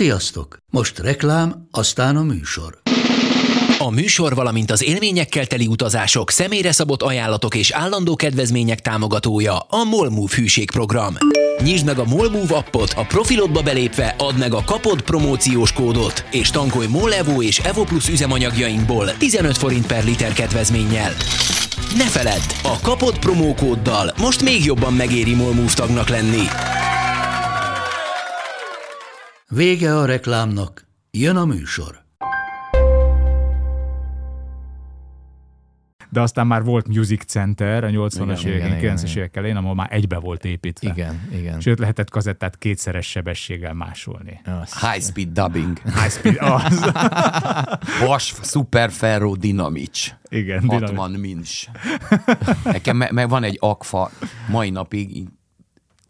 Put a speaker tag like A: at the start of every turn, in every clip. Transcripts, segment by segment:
A: Sziasztok! Most reklám, aztán a műsor.
B: A műsor, valamint az élményekkel teli utazások, személyre szabott ajánlatok és állandó kedvezmények támogatója a Molmove hűségprogram. Nyisd meg a Molmove appot, a profilodba belépve add meg a kapod promóciós kódot, és tankolj Molevo és Evo Plus üzemanyagjainkból 15 forint per liter kedvezménnyel. Ne feledd, a kapod promókóddal most még jobban megéri Molmove tagnak lenni.
A: Vége a reklámnak, jön a műsor.
C: de aztán már volt Music Center a 80-as
D: Igen,
C: évek,
D: igen, igen,
C: 90-es
D: igen.
C: évek elején, ahol már egybe volt építve.
D: Igen, igen.
C: Sőt, lehetett kazettát kétszeres sebességgel másolni.
D: Azt.
E: High speed dubbing.
C: High speed, az,
E: Vas Super Ferro Dynamics.
C: igen, dinamit.
E: 60 mins. Nekem me- meg van egy akfa, mai napig így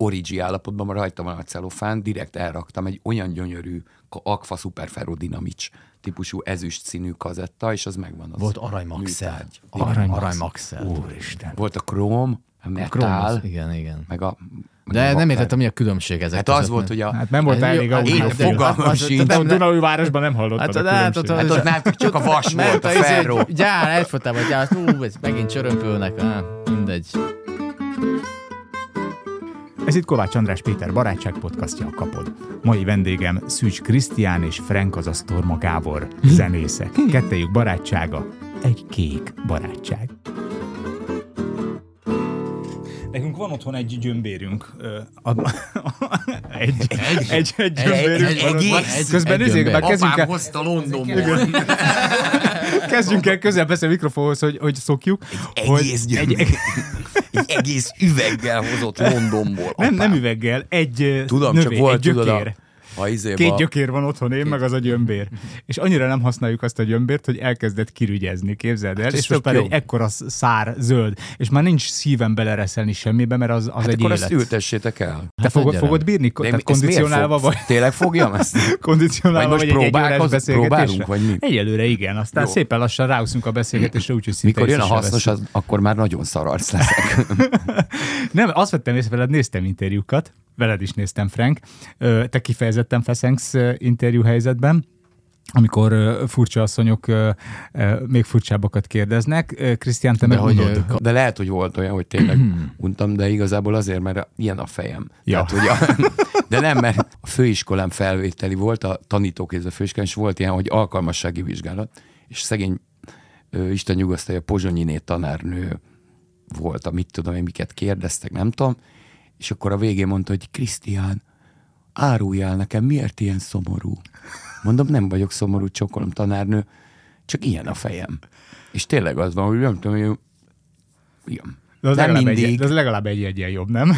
E: origi állapotban már rajtam van a celofán, direkt elraktam egy olyan gyönyörű ka- akfa Super Ferro Dynamics típusú ezüst színű kazetta, és az megvan az.
D: Volt aranymaxel.
E: műtárgy.
D: Arany,
C: Aranymax.
D: aranymaxel.
C: Úristen.
E: Volt a króm, a
D: Kromosz,
E: metál,
D: igen, igen.
E: meg a... meg
D: De
E: a
D: nem
E: vaper.
D: értettem, mi a különbség ezek
E: Hát az
D: között,
E: volt,
D: nem?
E: hogy a...
C: Hát nem volt
D: Hát
C: elég
D: jó,
E: Én
D: hát
C: autófilm.
D: de-
E: fogalmam
D: az-
E: sincs.
D: nem-
C: A Dunai városban nem hallottad
D: Hát,
C: a
D: de- hát,
C: különbséget.
D: ott-
E: Hát ott már csak a vas volt,
D: Mert
E: a
D: a izé-
E: ferró.
D: Gyár, egyfolytában gyár, azt, ú, ez megint csörömpölnek, á, mindegy.
C: Ez itt Kovács András Péter barátság podcastja a Kapod. Mai vendégem Szűcs Krisztián és Frank azaz Torma Gábor
E: Hm.
C: zenészek. Kettejük barátsága egy kék barátság. Nekünk van otthon egy gyömbérünk. ö, a- Egy, egy, egy, egy gyömbérünk.
D: egy-
C: van
D: egy-
C: otthon.
D: egy-
C: Közben
D: egy
C: nézzék,
D: gyömbér.
C: már kezdjünk el,
E: hozta Londonból.
C: kezdjünk el közel beszélni a mikrofonhoz, hogy, hogy szokjuk. hogy
E: Egész gyömbér. Egy egész üveggel hozott Londonból.
C: nem, nem
E: apám.
C: üveggel, egy ö,
E: Tudom,
C: növény,
E: csak volt,
C: egy
E: tudod, a,
C: gyökér.
E: a izéba.
C: Két gyökér van otthon, én meg az a gyömbér. És annyira nem használjuk azt a gyömbért, hogy elkezdett kirügyezni, képzeld el,
E: Hát
D: ez
C: és
D: most
C: most már
D: jó.
C: egy ekkora sz- szár zöld, és már nincs szívem belereszelni semmibe, mert az, az
E: Hát
C: egy
E: akkor
C: élet.
E: azt ültessétek el.
C: Te fogod,
D: adja
C: fogod
D: rám.
C: bírni? Ko-
E: De
C: Tehát
E: mi- ezt miért
C: kondicionálva
E: fog-
C: vagy?
E: Tényleg fogjam ezt?
C: Kondicionálva
E: Vagy
C: vagy,
E: most
C: egy egy órás
E: próbálkoz-
C: beszélgetésre?
E: próbálunk, vagy mi?
C: Egyelőre igen, aztán
E: Jó.
C: szépen lassan ráúszunk a beszélgetésre, úgyhogy szinte
E: Mikor jön a
C: észre se
E: hasznos,
C: veszünk.
E: az, akkor már nagyon szararc leszek.
C: Nem, azt vettem észre veled, néztem interjúkat, veled is néztem, Frank. Ö, Te kifejezetten feszengsz ö, interjú helyzetben, amikor ö, furcsa asszonyok ö, ö, még furcsábbakat kérdeznek. Ö, Krisztián, te
D: De
C: meg
D: hogy,
C: unod.
D: ö,
E: De lehet, hogy volt olyan, hogy tényleg untam, de igazából azért, mert ilyen a fejem.
C: Hmm. Ja.
E: Tehát, hogy a, de nem, mert a főiskolám felvételi volt, a tanítóképző főiskolán, és volt ilyen, hogy alkalmassági vizsgálat, és szegény ö, Isten nyugasztalja, Pozsonyiné tanárnő volt, amit tudom én, miket kérdeztek, nem tudom, és akkor a végén mondta, hogy Krisztián, áruljál nekem, miért ilyen szomorú? Mondom, nem vagyok szomorú, csokolom tanárnő, csak ilyen a fejem. És tényleg az van, hogy nem tudom, hogy igen.
C: De az,
E: nem
C: legalább egy,
E: mindig.
C: de az legalább egy egyen jobb, nem?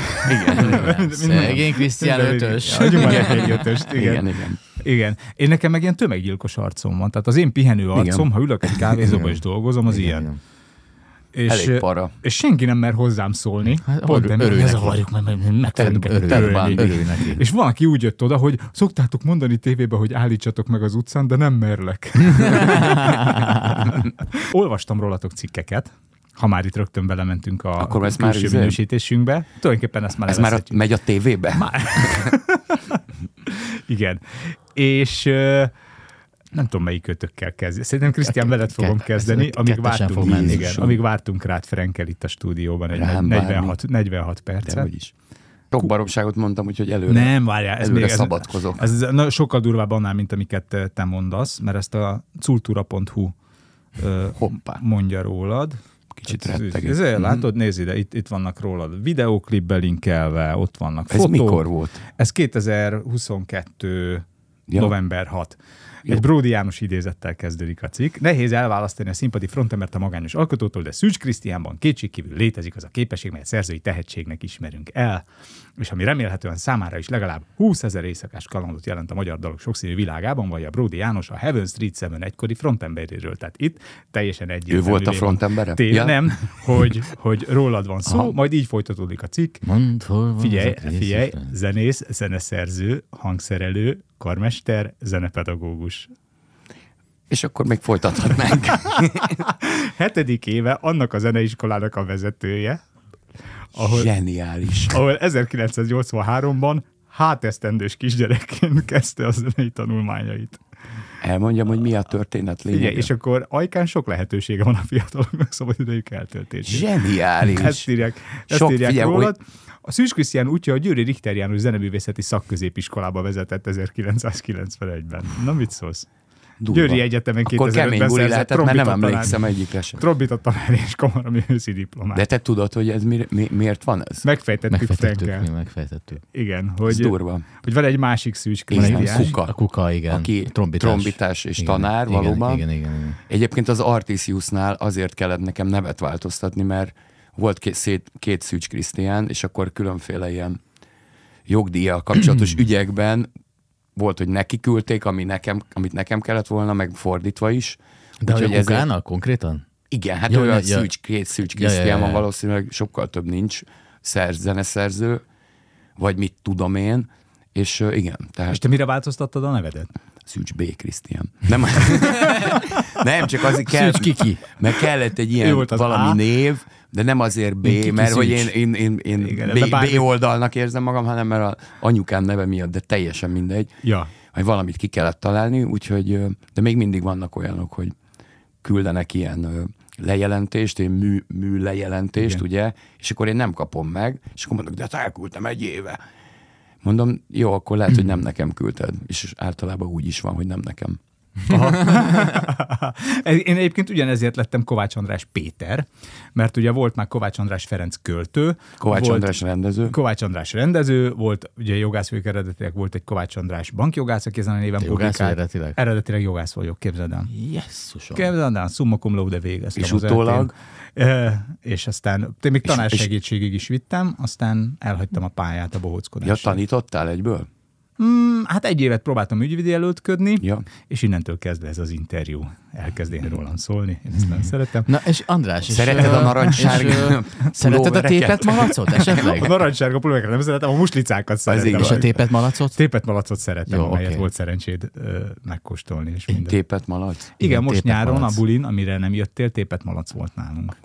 E: Igen.
D: Szegény Krisztián ötös.
C: Adjunk már neki egy ötöst, igen.
E: igen,
C: igen.
E: igen.
C: Igen. Én nekem meg ilyen tömeggyilkos arcom van. Tehát az én pihenő arcom,
E: Igen.
C: ha ülök egy kávézóba és dolgozom, az ilyen. És,
E: Elég para.
C: És senki nem mer hozzám szólni. Hát,
D: örül-
C: Pont nem,
D: örülj
C: ne
D: neki.
C: zavarjuk, mert meg- meg
D: Ted-
C: fogunk
D: örülj,
C: törölni.
D: Ted- örülj neki.
C: És van, aki úgy jött oda, hogy szoktátok mondani tévébe, hogy állítsatok meg az utcán, de nem merlek. Olvastam rólatok cikkeket, ha már itt rögtön belementünk a
E: Akkor ez már
C: külső
E: izé-
C: minősítésünkbe. Tulajdonképpen ezt már
E: Ez már a,
C: levezetjük.
E: megy a tévébe?
C: Igen. És ö, nem tudom, melyik kötökkel kezd. Szerintem Krisztián veled fogom
D: Ke-
C: kezdeni,
D: ke-
C: amíg
D: kettesen
C: vártunk,
D: fog menni.
C: igen,
E: Jézusom.
C: amíg vártunk rád Frenkel itt a stúdióban egy
E: Rám
C: 46, 46
E: De
C: percet.
E: úgyis. Sok baromságot mondtam, úgyhogy előre.
C: Nem, várjál, ez
E: Előre
C: még, ez,
E: szabadkozok.
C: Ez, na, sokkal durvább annál, mint amiket eh, te mondasz, mert ezt a cultura.hu ö,
E: Hoppá.
C: mondja rólad.
E: Kicsit Mm-hmm.
C: Ez-
E: rettegek.
C: Ez, ez, látod, nézd ide, itt, itt vannak rólad videóklipbe linkelve, ott vannak
E: Ez
C: fotók.
E: mikor volt?
C: Ez 2022
E: Ja.
C: november 6. Egy Bródi János idézettel kezdődik a cikk. Nehéz elválasztani a színpadi frontemert a magányos alkotótól, de Szűcs Krisztiánban kétségkívül létezik az a képesség, melyet szerzői tehetségnek ismerünk el, és ami remélhetően számára is legalább 20 ezer éjszakás kalandot jelent a magyar dalok sokszínű világában, vagy a Bródi János a Heaven Street 7 egykori frontemberéről. Tehát itt teljesen egyértelmű.
E: volt a
C: lé van.
E: frontembere?
C: Tény,
E: Ja.
C: nem, hogy, hogy rólad van szó, majd így folytatódik a cikk.
D: Mondd, hol van
C: Figyelj,
D: az a
C: figyelj,
D: Krisztus?
C: zenész, zeneszerző, hangszerelő, karmester, zenepedagógus.
E: És akkor még folytathatnánk.
C: Hetedik éve annak a zeneiskolának a vezetője, ahol,
E: Zseniális.
C: ahol 1983-ban hátesztendős kisgyerekként kezdte a zenei tanulmányait.
E: Elmondjam, hogy mi a történet lényege.
C: Figyelj, és akkor ajkán sok lehetősége van a fiataloknak szabad idejük eltöltésére.
E: Zseniális.
C: Ezt írják, ezt
E: Sok,
C: Sok, írják
E: figyelj,
C: figyel, rólad. A Szűcs Krisztián útja a Győri Richter János zeneművészeti szakközépiskolába vezetett 1991-ben. Na mit szólsz?
E: Durva.
C: Győri Egyetemen
E: Akkor
C: 2005-ben
E: kemény buli
C: szerzett
E: lehetett, mert nem
C: trombita
E: emlékszem
C: tanár,
E: egyikre sem.
C: trombita tanár és kamarami őszi diplomát.
E: De
C: De
E: te tudod, hogy ez mi, mi, miért van ez?
C: Megfejtettük
D: Megfejtettük, mi
C: Frenkel.
D: megfejtettük.
C: Igen,
E: Ez
C: hogy,
E: durva.
C: hogy van egy másik Szűcs
E: Igen,
C: Krisztián.
E: kuka.
D: A kuka, igen.
E: Aki
D: A trombitás.
E: trombitás és tanár,
D: igen,
E: valóban.
D: Igen, igen, igen.
E: Egyébként az Artisiusnál azért kellett nekem nevet változtatni, mert volt két, szét, két Szűcs Krisztián, és akkor különféle ilyen jogdíjjal kapcsolatos ügyekben volt, hogy neki küldték, ami nekem, amit nekem kellett volna, meg fordítva is.
D: De hogy
E: Úgyhogy
D: a
E: ezért-
D: kukának konkrétan?
E: Igen, hát
D: Ja,
E: olyan
D: ne- ja.
E: szűcs, két szűcs
D: Ja, ja, ja,
E: Krisztián van
D: ja.
E: valószínűleg, sokkal több nincs, szerz, zeneszerző, vagy mit tudom én, és ö, igen,
C: És
E: tehát
C: te mire változtattad a nevedet?
E: Szűcs B. Krisztián. Nem, nem csak azért kell,
D: Szűcs Kiki.
E: mert kellett egy
C: Ő
E: ilyen
C: volt az
E: valami
C: A.
E: név, de nem azért B,
C: Kiki
E: mert hogy én,
C: Szűcs.
E: én, én, én
C: Igen,
E: B,
C: de bármi-
E: B oldalnak érzem magam, hanem mert a anyukám neve miatt, de teljesen mindegy.
C: Ja.
E: Hogy valamit ki kellett találni, úgyhogy, ö, de még mindig vannak olyanok, hogy küldenek ilyen ö, lejelentést, én mű, mű lejelentést,
C: Igen.
E: ugye, és akkor én nem kapom meg, és akkor mondok, de hát elküldtem egy éve. Mondom, jó, akkor lehet, hogy nem nekem küldted. És általában úgy is van, hogy nem nekem.
C: Én egyébként ugyanezért lettem Kovács András Péter, mert ugye volt már Kovács András Ferenc költő.
E: Kovács
C: volt,
E: András rendező.
C: Kovács András rendező, volt ugye jogász vagyok eredetileg, volt egy Kovács András bankjogász, aki ezen a néven
D: Te jogász vagy
C: publikált.
D: eredetileg?
C: Eredetileg jogász vagyok, képzeld el.
D: Jesszusom.
C: Képzeld el, summa cum laude végeztem.
E: És
C: az
E: utólag?
C: eltén. E, és aztán én még tanár
E: és-
C: segítségig is vittem, aztán elhagytam a pályát a
E: Ja,
C: bohóckodásra.
E: tanítottál egyből?
C: Mm, hát egy évet próbáltam ügyvédi előtködni,
E: Ja.
C: és innentől kezdve ez az interjú. Elkezd én rólam szólni, én ezt
E: Mhm.
C: nem szeretem.
D: Na, és András, és,
E: Szereted
D: ö,
E: a narancssárga
D: és, ö, Szereted a
E: pulóvereket?
D: tépet malacot
C: A
D: esetleg?
C: narancssárga pulóvereket nem szeretem, a muslicákat szeretem.
E: így
D: És a tépet malacot?
C: Tépet malacot szeretem,
D: Jó,
C: Jó, amelyet
D: oké.
C: okay. volt szerencséd ö, megkóstolni. És
E: Én
C: minden.
E: tépet malac?
C: Igen,
D: Igen,
C: most
D: tépet
C: nyáron
D: malac.
C: a bulin, amire nem jöttél, tépet malac volt nálunk.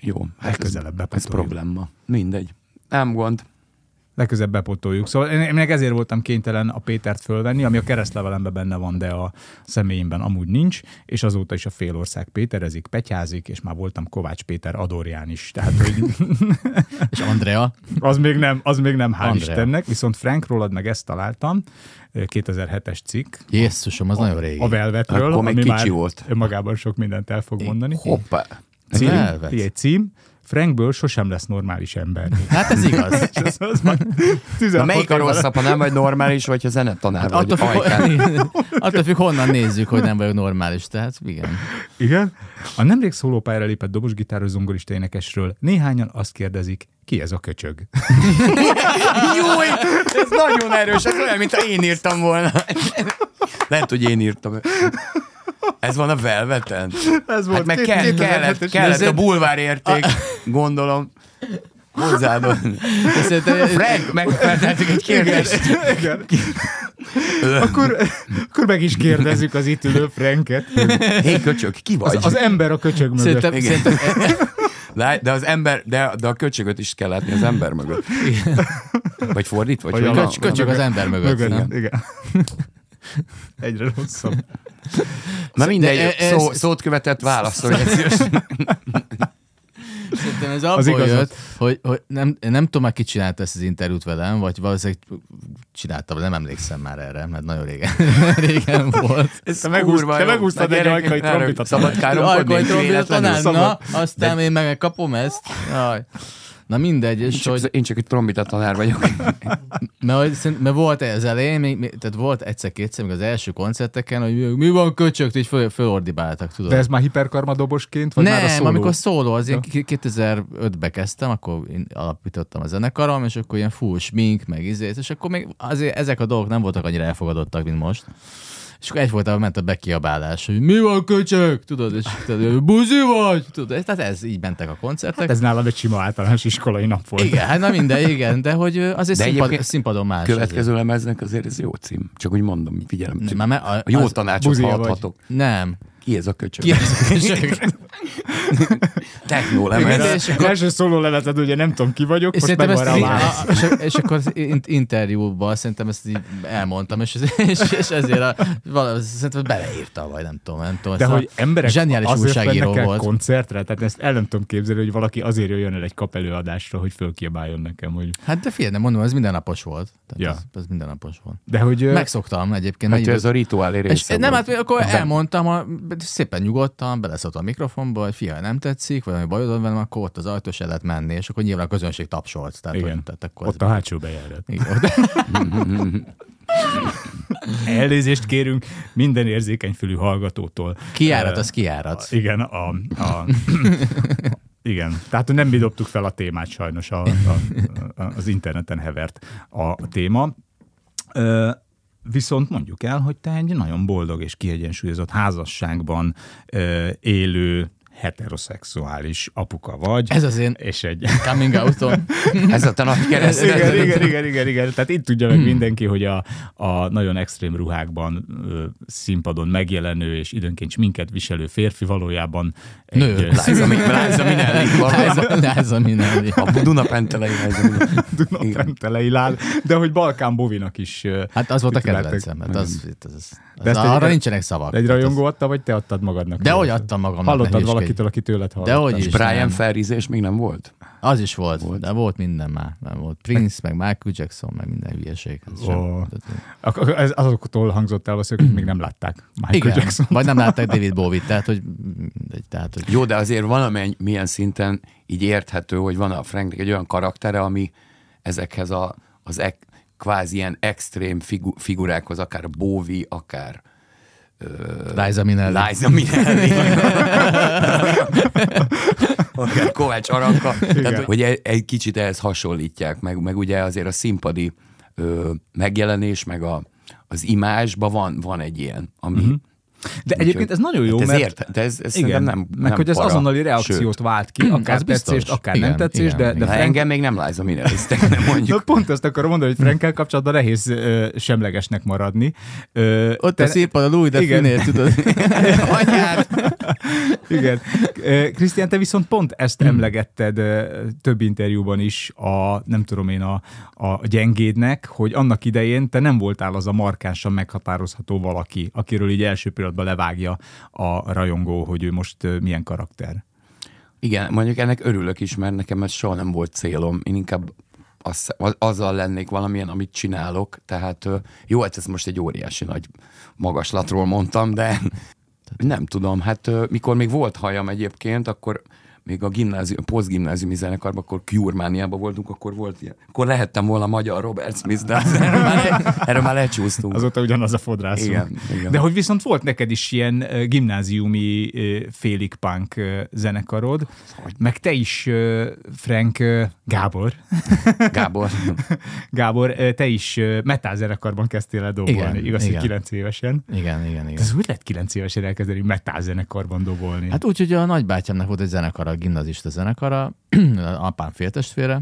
E: Jó. Hát
C: Legközelebb
E: ez, ez
C: bepatoljuk.
E: probléma. Mindegy. Nem gond.
C: Legközebb bepotoljuk. Szóval én, én meg ezért voltam kénytelen a Pétert fölvenni, ami a keresztlevelemben benne van, de a személyemben amúgy nincs, és azóta is a félország Péterezik, petyázik, és már voltam Kovács Péter Adorján is. Tehát, hogy
D: És Andrea?
C: Az még nem, az még nem, hál'
D: Andrea.
C: Istennek. Viszont Frank rólad meg ezt találtam, 2007-es cikk,
D: Jesszusom, az nagyon régi.
C: a Velvetről,
E: Akkor még
C: ami
E: kicsi
C: már
E: volt.
C: önmagában sok mindent el fog mondani.
E: Hoppá.
C: Cím,
D: Velvet.
C: figyelj, cím, Frankből sosem lesz normális ember.
D: Hát ez igaz.
C: Ez az már
E: Na
C: 16
E: melyik a
C: évvel-
E: rosszabb, ha nem vagy normális, vagy ha zenetanár vagy?
D: Attól függ,
E: Ajkán.
D: attól függ, honnan nézzük, hogy nem vagyok normális. Tehát igen.
C: Igen. A nemrég szólópályára lépett dobosgitáros zongorista énekesről néhányan azt kérdezik, ki ez a köcsög?
E: Júj! Ez nagyon erős, ez olyan, mintha én írtam volna. Lehet, hogy én írtam. Ez van a velveten.
C: Ez
E: Hát meg kell, kellett, kellett a bulvár érték, gondolom. Hozzáadni.
D: De Szerintem
E: Frank, megfeleltük egy kérdést.
C: Akkor, akkor meg is kérdezzük az itt ülő Franket.
E: Hé, köcsök, ki vagy?
C: Az, az ember a köcsög mögött.
D: Szerintem,
E: Igen.
D: szerintem
E: De, de az ember, de, de a köcsögöt is kell látni az ember mögött. Vagy fordítva, vagy,
C: Vagy
E: hogy
C: a
E: van?
D: köcs, köcsög az ember mögött.
C: Mögött,
D: nem?
C: igen. igen. Egyre rosszabb.
E: Na mindegy,
D: De e- Szóval-
E: szó,
D: ez-
E: szót követett válaszolj. egy szíves-
D: Szerintem ez abból
C: igazat.
D: jött, hogy, hogy nem, én nem tudom, már ki csinálta ezt az interjút velem, vagy valószínűleg csináltam, de nem emlékszem már erre, mert nagyon régen, régen volt.
E: Ez
C: Te megúsz-
E: kurva
C: te
E: jó.
C: megúsztad
E: Na
C: egy
E: gyerekek,
C: ajkai
E: ne
C: trombita
E: rög- Szabad káromkodni,
D: Alkoholtól mi a
E: véletlenül.
D: tanár, na,
C: szabad.
D: aztán én megkapom ezt. Jaj. Na mindegy, és
E: Csak-
D: hogy,
E: Én csak egy trombita tanár vagyok.
D: mert, hogy szerint- mert volt az elején, még, még, tehát volt egyszer-kétszer, még az első koncerteken, hogy mi- mi van köcsögt, így föl, fölordibáltak, tudod.
C: De ez már hiperkarma dobosként, vagy már a
D: Nem,
C: szóló?
D: amikor szóló, az ilyen 2005-ben kezdtem, akkor én alapítottam a zenekarom, és akkor ilyen fú, smink, meg izét, és akkor még azért ezek a dolgok nem voltak annyira elfogadottak, mint most. És akkor egyfolytában ment a bekiabálás, hogy mi van köcsök, tudod, és tudod, buzi vagy, tudod, tehát ez így mentek a
E: Hát
D: koncertek.
C: Ez nálam egy sima általános iskolai nap volt.
D: igen, hát na minden, igen, de hogy ö, azért de
E: De
D: színpad,
E: egyébként
D: színpadon más. azért.
E: Következő lemeznek azért ez jó cím. Csak úgy mondom, figyelem.
D: Nem, már me- a-
E: A jó
D: az-
E: tanácsot
C: buzia vagy.
E: hallhathatok.
D: Nem.
E: Ki ez a köcsög?
D: Ki ez a köcsög?
E: Technó
D: Igen,
E: lemez. Hát
D: és
C: És akkor... Első szóló leleted, ugye nem tudom ki vagyok,
D: És
C: most
D: szerintem
C: megvan
D: ezt
C: rá a
D: így,
C: válasz.
D: a, és, és akkor in- interjúban szerintem ezt így elmondtam, és, és, és ezért a, valami, szerintem beleírta, vagy nem tudom, nem tudom.
C: De
D: szóval
C: hogy emberek
D: zseniális
C: azért
D: újságíró
C: mennek el
D: volt.
C: koncertre, tehát ezt el nem tudom képzelni, hogy valaki azért jöjjön el egy kap előadásra, hogy fölkiabáljon nekem, hogy...
D: hát de figyelj, nem mondom, ez mindennapos volt. Tehát
C: Ja.
D: ez, ez mindennapos volt.
C: De hogy... ö,
D: Megszoktam egyébként.
E: Hát
D: mennyi
E: ez a rituálé
D: És
E: része
D: nem,
E: volt.
D: hát akkor elmondtam, a, szépen nyugodtan, beleszóltam a mikrofonba, hogy fia, nem tetszik, vagy valami bajod van velem, akkor ott az ajtó se lehet menni, és akkor nyilván a közönség tapsolt. Tehát,
C: Igen,
D: Hogy, tehát akkor
C: ott a
D: ez,
C: hátsó bejárat.
D: igen, ott,
C: Elnézést kérünk minden érzékeny fülű hallgatótól.
D: kiárat,
C: Ö,
D: az kiárat.
C: Igen, a, a, igen. Tehát nem mi dobtuk fel a témát sajnos, a, a, a, az interneten hevert a, a téma. Ö, viszont mondjuk el, hogy te egy nagyon boldog és kiegyensúlyozott házasságban ö, élő heteroszexuális apuka vagy.
D: Ez az én
C: és egy...
D: coming out
E: Ez a te nagy kereszt.
C: Igen, igen, igen, igen, igen. Tehát itt tudja meg mindenki, hogy a, a nagyon extrém ruhákban ö, színpadon megjelenő és időnként sminket viselő férfi valójában egy,
D: Nő.
C: ö,
E: Liza Mi- Liza Minnelli. valami.
D: Láza minden.
E: A Dunapentelein Liza Minnelli.
C: Dunapentelei lál, de hogy Balkán Bovinak is. ö,
D: Hát az volt a
C: tituláltak.
D: kedvencem. Hát az, az, az,
C: De
D: az
C: ezt
D: arra
C: egy-
D: nincsenek szavak. Hát
C: Egy
D: Tehát
C: rajongó adta, vagy te adtad magadnak?
D: Dehogy
C: Miért?
D: adtam magamnak, ne
C: Hallottad
D: hülyeskedj.
C: valakitől, aki tőled
D: az-
C: hallott.
D: Dehogy is.
E: És Brian
D: nem.
E: felrizés még nem volt?
D: Az is volt, volt, de volt minden már. Nem volt Prince, meg Michael Jackson, meg minden hülyeség. Ez sem-
C: Ó.
D: tehát-
C: Ak- ak- ez azoktól hangzott el, valószínűleg, akik még nem látták Michael
D: Igen,
C: Jackson.
D: vagy nem látták David Bowie-t, tehát hogy, mindegy, tehát, hogy
E: Jó, de azért valamilyen milyen szinten így érthető, hogy van a Franknek egy olyan karaktere, ami ezekhez a, az ek, kvázi ilyen extrém figu, figurákhoz, akár Bóvi, akár
D: Liza Minnelli.
E: Liza Minnelli, akár Kovács Aranka. Tehát, hogy egy, egy kicsit ehhez hasonlítják, meg, meg ugye azért a színpadi ö, megjelenés, meg a, az imásban van, van egy ilyen, ami... Mm-hmm.
C: De Mhm. egyébként ez nagyon jó,
E: hát ez
C: mert...
E: Érte, de ez, ez igen, nem,
C: meg
E: nem
C: hogy az
E: para.
C: azonnali reakciót
E: Sőt,
C: vált ki, akár
D: az biztos.
C: tetszést, akár nem
D: Igen,
C: tetszést,
D: igen,
C: de, de
D: igen.
E: ha
C: Frank
E: engem még nem Liza Minnelli-ztek, nem mondjuk.
C: Na pont ezt akarom mondani, hogy Frankkel kapcsolatban nehéz ö, semlegesnek maradni. Ö,
D: Ott
C: te-
D: a színpadon új, de
C: Igen.
D: finél, tudod. Anyád!
C: Igen. Ö, Krisztián, te viszont pont
D: Hmm.
C: ezt emlegetted ö, több interjúban is a, nem tudom én, a, a gyengédnek, hogy annak idején te nem voltál az a markánsan meghatározható valaki, akiről így első pillanatban levágja a rajongó, hogy ő most ö, milyen karakter.
E: Igen, mondjuk ennek örülök is, mert nekem ez soha nem volt célom. Én inkább az, azzal lennék valamilyen, amit csinálok. Tehát ö, jó, hát ezt most egy óriási nagy magaslatról mondtam, de nem tudom. Hát ö, mikor még volt hajam egyébként, akkor még a, gimnázium, a posztgimnáziumi zenekarban, akkor Kjurmániában voltunk, akkor volt ilyen. Akkor lehettem volna magyar Robert Smith, de az- erről már, le, erről már lecsúsztunk.
C: Azóta ugyanaz a fodrászunk.
E: Igen, igen.
C: De hogy viszont volt neked is ilyen ö, gimnáziumi ö, félig punk ö, zenekarod, meg te is, ö, Frank ö, Gábor,
E: Gábor.
C: Gábor, ö, te is ö, metal zenekarban kezdtél el dobolni,
D: Igen,
C: igaz, hogy
D: igen.
C: 9 évesen.
D: Igen, igen, igen.
C: Ez hogy lett 9 évesen elkezdeni metal zenekarban dobolni?
D: Hát úgy, hogy a nagybátyámnak volt egy zenekara, a gimnazista zenekara, apám féltestvére,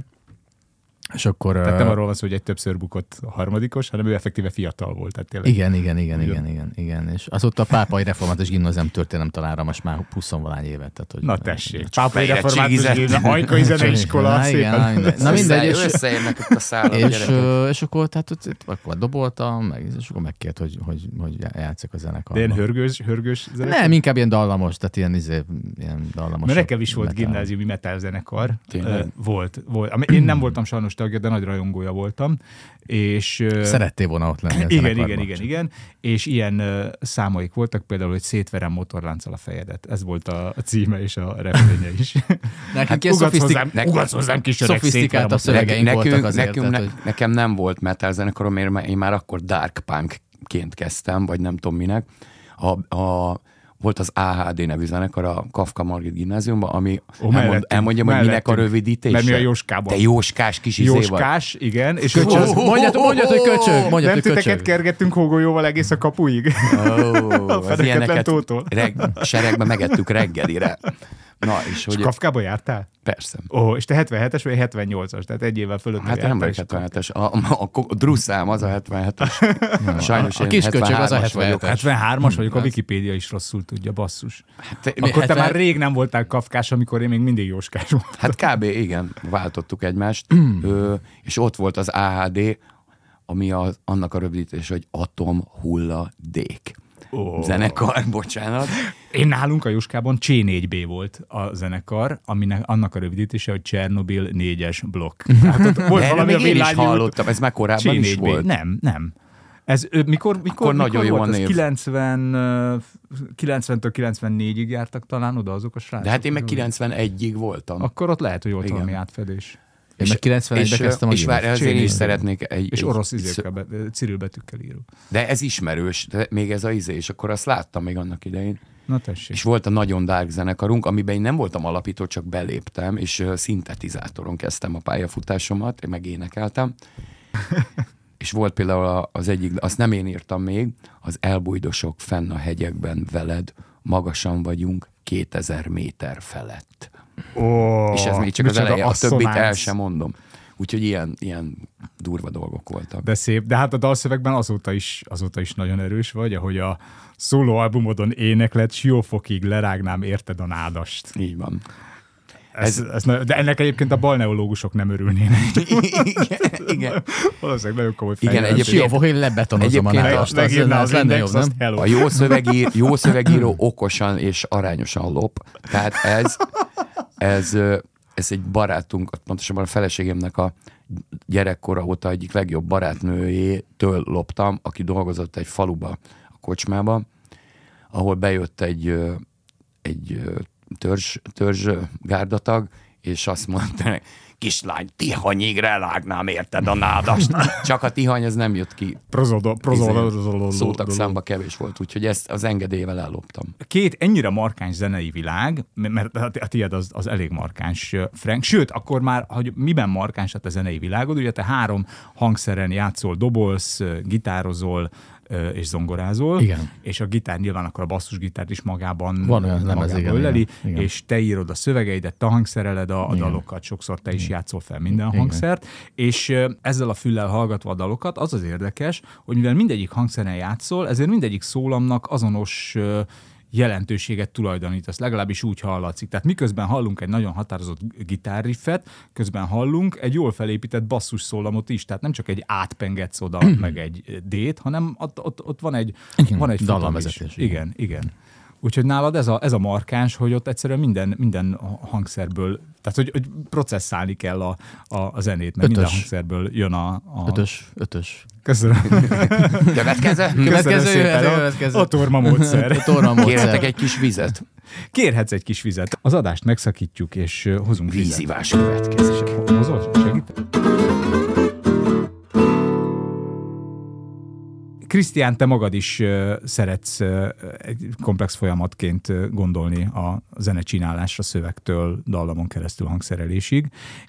D: és akkor...
C: Tehát
D: ö,
C: nem arról van szó, hogy egy többször bukott a harmadikos, hanem ő effektíve fiatal volt, tehát tényleg.
D: igen, igen, igen, igen, igen, igen. És azóta a pápai református gimnázium történelem tanára most már 20 valány évet. Tehát, hogy
C: Na tessék, Pápai református
E: érettségizett.
C: gimnázium, Ajkai zeneiskola,
D: Na, igen, na,
C: szépen.
D: mindegy. Na mindegy,
E: Össze-
D: és,
E: Összeérnek itt a szállat,
D: és,
E: gyerekek.
D: ö, és akkor, tehát, ott- ott akkor doboltam, meg, és akkor megkért, hogy, hogy, hogy játszak a
C: De ilyen
D: zenekarban.
C: hörgős, hörgős zenekar?
D: Nem, inkább ilyen dallamos, tehát ilyen, izé, ilyen dallamos.
C: Mert nekem is volt
D: metal.
C: gimnáziumi metalzenekar.
E: Tényleg?
C: Ö, Volt, volt. Ami- Én nem voltam sajnos tagja, de nagy rajongója voltam. És, ö,
D: Szerettél volna ott lenni a
C: igen,
D: zenekarban,
C: igen, igen,
D: csak
C: igen. És ilyen ö, számaik voltak, például, hogy szétverem motorlánccal a fejedet. Ez volt a a címe és a refrénje is.
D: Nekünk
C: Ugatsz
D: ilyen szofisztik-
C: hozzám, ugatsz hozzám kis öreg, szétverem
D: szofisztikáltabb
C: motorlánccal.
D: szövegeink
E: Nek-
D: voltak azért.
E: nekünk,
D: tehát,
E: ne,
D: hogy-
E: Nekem nem volt metal zenekarom, mert már- én már akkor dark punkként kezdtem, vagy nem tudom minek. A, a, volt az AHD nevű zenekar a Kafka Margit gimnáziumban, ami
C: Ó,
E: Ó, elmond,
C: mellettünk,
E: elmondjam, hogy minek a
C: mellettünk.
E: rövidítése.
C: Mert mi a Jóskában.
E: Te Jóskás kis izé vagy.
C: Jóskás, igen. És
D: Köcsög.
C: Köcsög.
D: Mondjátok, mondjátok, hogy köcsög.
C: Nem
D: Mondjátok, hogy
C: titeket
D: köcsög.
C: kergettünk hógolyóval egész a kapuig.
E: Ó, az
C: fedeketlen tótól.
E: reg, seregben megettük reggelire. Na, és
C: És
E: hogy...
C: Kafkába jártál?
E: Persze.
C: Ó, és te 77-es vagy 78-as, tehát egy évvel fölött
E: Hát nem vagyok 77-es. A, a, a, a drusszám az a 77-es. Sajnos
D: a
E: én
D: kisköcsög az a
E: 73-as vagyok.
D: 77-es.
C: 73-as vagyok, a
D: Ez.
C: Wikipédia is rosszul tudja, basszus.
E: Mm, Hát, te-
C: Akkor te
D: hetven-
C: már rég nem voltál kafkás, amikor én még mindig jóskás voltam.
E: Hát kb. igen, váltottuk egymást, ö, és ott volt az AHD, ami az, annak a rövidítés, hogy Atom Hulladék.
C: Ó.
E: Oh. Zenekar, bocsánat.
C: Én nálunk a Juskában C4B volt a zenekar, aminek annak a rövidítése, hogy Csernobil 4-es blokk. Hát ott volt
E: Erre
C: valami a
E: még én is
C: villányút.
E: hallottam, ez már korábban is
C: C4B.
E: volt.
C: Nem, nem. Ez ö, mikor, mikor, mikor
E: nagyon jó
C: volt?
E: a
C: Ez
E: név.
C: 90, ö, 90-től 94-ig jártak talán oda azok a srácok.
E: De hát én meg
C: Ugye?
E: 91-ig voltam.
C: Akkor ott lehet, hogy volt
E: Igen.
C: valami átfedés.
D: Én meg 91-ben
E: és,
D: kezdtem a
E: és várj,
D: gimnáziumot.
E: azért én is
C: C4B.
E: szeretnék egy...
C: És
E: egy-
C: orosz izé.
E: egy szö-
C: izékkel, be- cirilbetűkkel író.
E: De ez ismerős, de még ez a izé, és akkor azt láttam még annak idején.
C: Na tessék.
E: És volt a Nagyon Dark zenekarunk, amiben én nem voltam alapító, csak beléptem, és ö, szintetizátoron kezdtem a pályafutásomat, én meg énekeltem. és volt például a- az egyik, azt nem én írtam még, az Elbújdosok fenn a hegyekben veled, magasan vagyunk 2000 méter felett.
C: Oh,
E: és ez még csak az eleje, a többit el sem mondom. Úgyhogy ilyen, ilyen durva dolgok voltak.
C: De szép, de hát a dalszövegben azóta is, azóta is nagyon erős vagy, ahogy a szólóalbumodon éneklet, siófokig lerágnám érted a nádast.
E: Így van.
C: Ez, ez, ez, na- de ennek egyébként a balneológusok nem örülnének.
E: igen, igen.
C: Valószínűleg nagyon komoly
E: Igen,
C: fejlődés.
E: egyébként-
D: Jó, fog, én lebetonozom a
E: Egyébként
C: Meg-
D: nádast. Az,
C: Megírná
D: az
C: az
D: lenne
C: index,
D: jobb, nem?
C: azt hello.
E: A jó, szövegír, jó szövegíró okosan és arányosan lop. Tehát ez, ez, ö, ez egy barátunk, pontosabban a feleségemnek a gyerekkora óta egyik legjobb barátnőjétől loptam, aki dolgozott egy faluba, a kocsmába, ahol bejött egy, ö, egy ö, törzs, törzs ö, gárdatag, és azt mondta, kislány, tihanyig relágnám, érted a nádast. Csak a tihany, ez nem jött ki
C: Prozodo- prozodozoló-
E: Izé, szótak számba kevés volt, úgyhogy ezt az engedélyével elloptam.
C: Két ennyire markáns zenei világ, m- mert a a tiéd az, az elég markáns, ö, Frank. Sőt, akkor már, hogy miben markáns hát a te zenei világod, ugye te három hangszeren játszol, dobolsz, ö, gitározol, ö, és zongorázol.
D: Igen.
C: És a gitár nyilván akkor a basszusgitárt is magában,
D: Van olyan lemez,
C: magában
D: igen,
C: öleli,
D: igen, igen.
C: és te írod a szövegeidet, te hangszereled a, a dalokat, sokszor te is játszol fel minden hangszert, és ö, ezzel a füllel hallgatva a dalokat, az az érdekes, hogy mivel mindegyik hangszeren játszol, ezért mindegyik szólamnak azonos ö, jelentőséget tulajdonítasz, legalábbis úgy hallatszik. Tehát miközben hallunk egy nagyon határozott gitárriffet, közben hallunk egy jól felépített basszus szólamot is, tehát nem csak egy átpengetsz oda, meg egy dét, hanem ott, ott, ott van egy, van egy futam is.
D: dallamvezetés, igen.
C: Igen, igen. Úgyhogy nálad ez a, ez a markáns, hogy ott egyszerűen minden, minden ha- hangszerből, tehát hogy, hogy processzálni kell a, a, a zenét, mert Ötös. minden
D: Ötös.
C: hangszerből jön a... a...
D: Ötös, ötös.
C: Köszönöm.
E: Következő?
D: Következő,
C: Köszönöm szépen.
D: jöhet,
C: A-
D: következő.
C: A torma módszer.
D: Torna
E: Kérhetek
D: módszer.
E: egy kis vizet? Kérhetsz
C: Kérhetsz egy kis vizet. Az adást megszakítjuk, és ö, hozunk vizet.
E: Vízivás következik.
C: Hozol? Segít? Krisztián, te magad is ö, szeretsz ö, egy komplex folyamatként ö, gondolni a zenecsinálásra szövegtől dallamon keresztül hangszerelésig,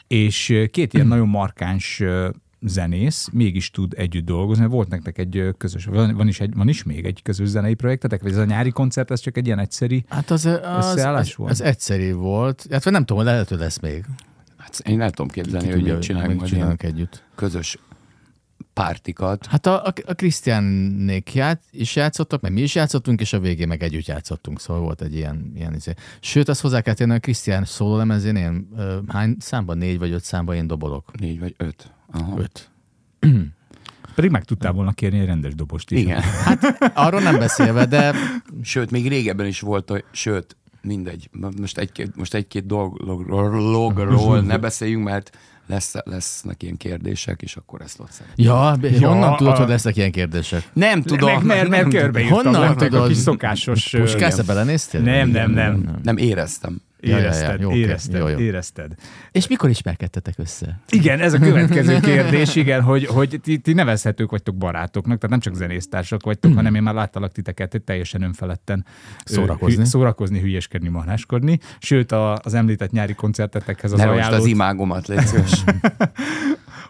C: és ö, két ilyen nagyon markáns ö, zenész mégis tud együtt dolgozni. Volt nektek egy ö, közös, van, van, is, egy, van is még egy közös zenei projektetek, vagy ez a nyári koncert, ez csak egy ilyen egyszeri?
D: Hát az, az,
C: Összeállás
D: az,
C: volt?
D: az egyszerű volt. Hát vagy nem tudom, lehet, hogy lesz még.
E: Hát én nem tudom képzelni,
D: Ki
E: hogy
D: tudja,
E: mit csinálunk majd ilyen
D: csinálunk együtt.
E: közös pártikat.
D: Hát a, a, a Krisztiánnék ját, is játszottak, meg mi is játszottunk, és a végén meg együtt játszottunk, szóval volt egy ilyen, ilyen izé. Sőt, azt hozzá kell tenni, hogy a Krisztián szóló lemezén én ö, hány számban, négy vagy öt számban én dobolok.
E: Négy vagy öt. Aha.
D: Öt.
C: Pedig meg tudtál volna kérni egy rendes dobost is.
E: Igen.
D: Hát, Arról nem beszélve, de
E: Sőt, még régebben is volt, hogy, sőt, mindegy, most egy-két, most egy-két dologról ne beszéljünk, mert lesz, lesznek ilyen kérdések, és akkor ezt ott szeretném.
D: ja, ja honnan
C: a-
D: tudod, hogy lesznek ilyen kérdések?
E: Nem tudom.
C: Meg, mert, mert körbeírtam
D: Honnan
C: Honnan tudod? a
D: tudod?
C: kis szokásos... ö,
D: Puskászra belenéztél?
C: Nem, nem, nem.
E: Nem éreztem.
D: Ja, ja, ja,
C: Érezted,
D: jó, oké.
C: érezted,
D: Jó, jó.
C: érezted.
D: És mikor ismerkedtetek össze?
C: Igen, ez a következő kérdés, igen, hogy, hogy ti, ti nevezhetők vagytok barátoknak, tehát nem csak zenésztársak
D: Mhm.
C: vagytok, hanem én már láttalak titeket hogy teljesen önfeledten ö,
D: Szórakozni.
C: hü- szórakozni hülyeskedni, marháskodni. Sőt, a, az említett nyári koncertetekhez az
E: Ne rosd az
C: ajánlott,
E: imágomat, légy szíves.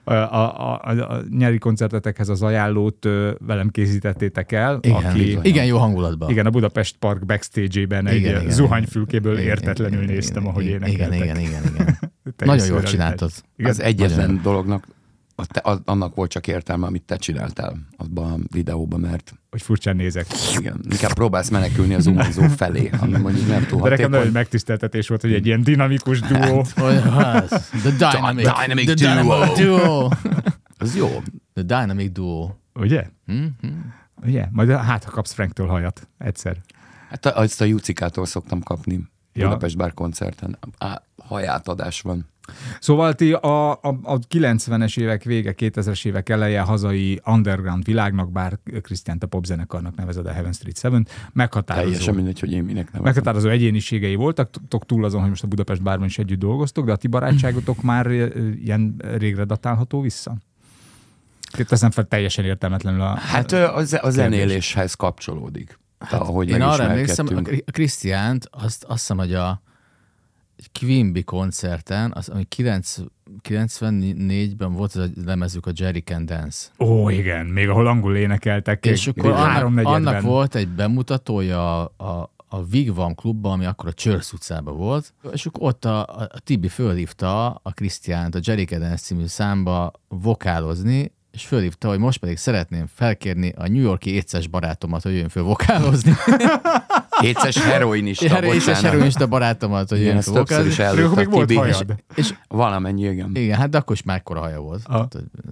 C: a, a, a, a nyári koncertetekhez az ajánlót ö, velem készítettétek el,
D: Igen,
C: aki...
D: igen jó hangulatban.
C: Igen, a Budapest Park backstage-ében egy
D: Igen,
C: igen,
D: igen.
C: zuhanyfülkéből értetlenül néztem, ahogy
D: igen,
C: énekeltek.
D: Igen, igen, igen, igen.
C: Te
D: Nagyon
C: is
D: jól
C: szörnyű.
D: csináltad.
C: Igen,
E: az egyetlen dolognak, a te, a, annak volt csak értelme, amit te csináltál abban a videóban, mert
C: Hogy furcsán nézek.
E: igen, inkább próbálsz menekülni az zuhanyzó felé, ami mondjuk nem túl
C: De nekem nagyon
E: hatékony.
C: megtiszteltetés volt, hogy egy ilyen dinamikus
D: Hát.
C: duó.
D: Olyan az. The Dynamic,
E: Dynamic
D: the Dynamic Duo.
E: Az jó.
D: The Dynamic Duo.
C: Ugye?
D: Mhm.
C: Ugye? Majd hát, ha kapsz Franktől hajat. Egyszer.
E: Hát a- azt a Jucikától szoktam kapni.
C: Ja.
E: Ja. Budapest Bár koncerten. Á, hajátadás van.
C: Szóval ti a, a, a 90-es évek vége, 2000-es évek eleje hazai underground világnak, bár Krisztián a popzenekarnak nevezed a Heaven Street Seven, meghatározó,
E: Teljesen mindegy, hogy én minek nem.
C: meghatározó egyéniségei voltak, tok túl azon, hogy most a Budapest bárban is együtt dolgoztok, de a ti barátságotok már ö, ö, ilyen régre datálható vissza? Teszem fel teljesen értelmetlenül a...
E: Hát ö, az, a zenéléshez kapcsolódik. Hát, ahogy
D: Én arra emlékszem, a
E: megismerkedtünk.
D: Kri- a Krisztiánt, azt, azt hiszem, hogy a Quimby koncerten, az, ami 9, 94-ben volt az a lemezük, a Jerry Can Dance.
C: Ó, igen, még ahol angol énekeltek.
D: És akkor annak,
C: háromnegyedben.
D: annak volt egy bemutatója a, a, a Vigvam klubban, ami akkor a Csörsz utcában volt, és akkor ott a, a, a Tibi fölhívta a Krisztiánt a Jerry Cadence című számba vokálozni, és fölhívta, hogy most pedig szeretném felkérni a New Yorki éces barátomat, hogy jöjjön föl vokálozni.
E: Hétszes heroinista,
D: éces
E: bocsánat.
D: heroinista barátomat, hogy
E: Igen,
D: jöjjön
E: ezt
D: föl
E: többször is
D: vokálozni.
C: Még akkor
E: előtt
C: még
E: a
C: volt
E: Tibi. És,
C: hajad.
E: és valamennyi, igen.
D: Igen, hát de akkor is mekkora haja volt.
C: A-
D: Tehát, ö,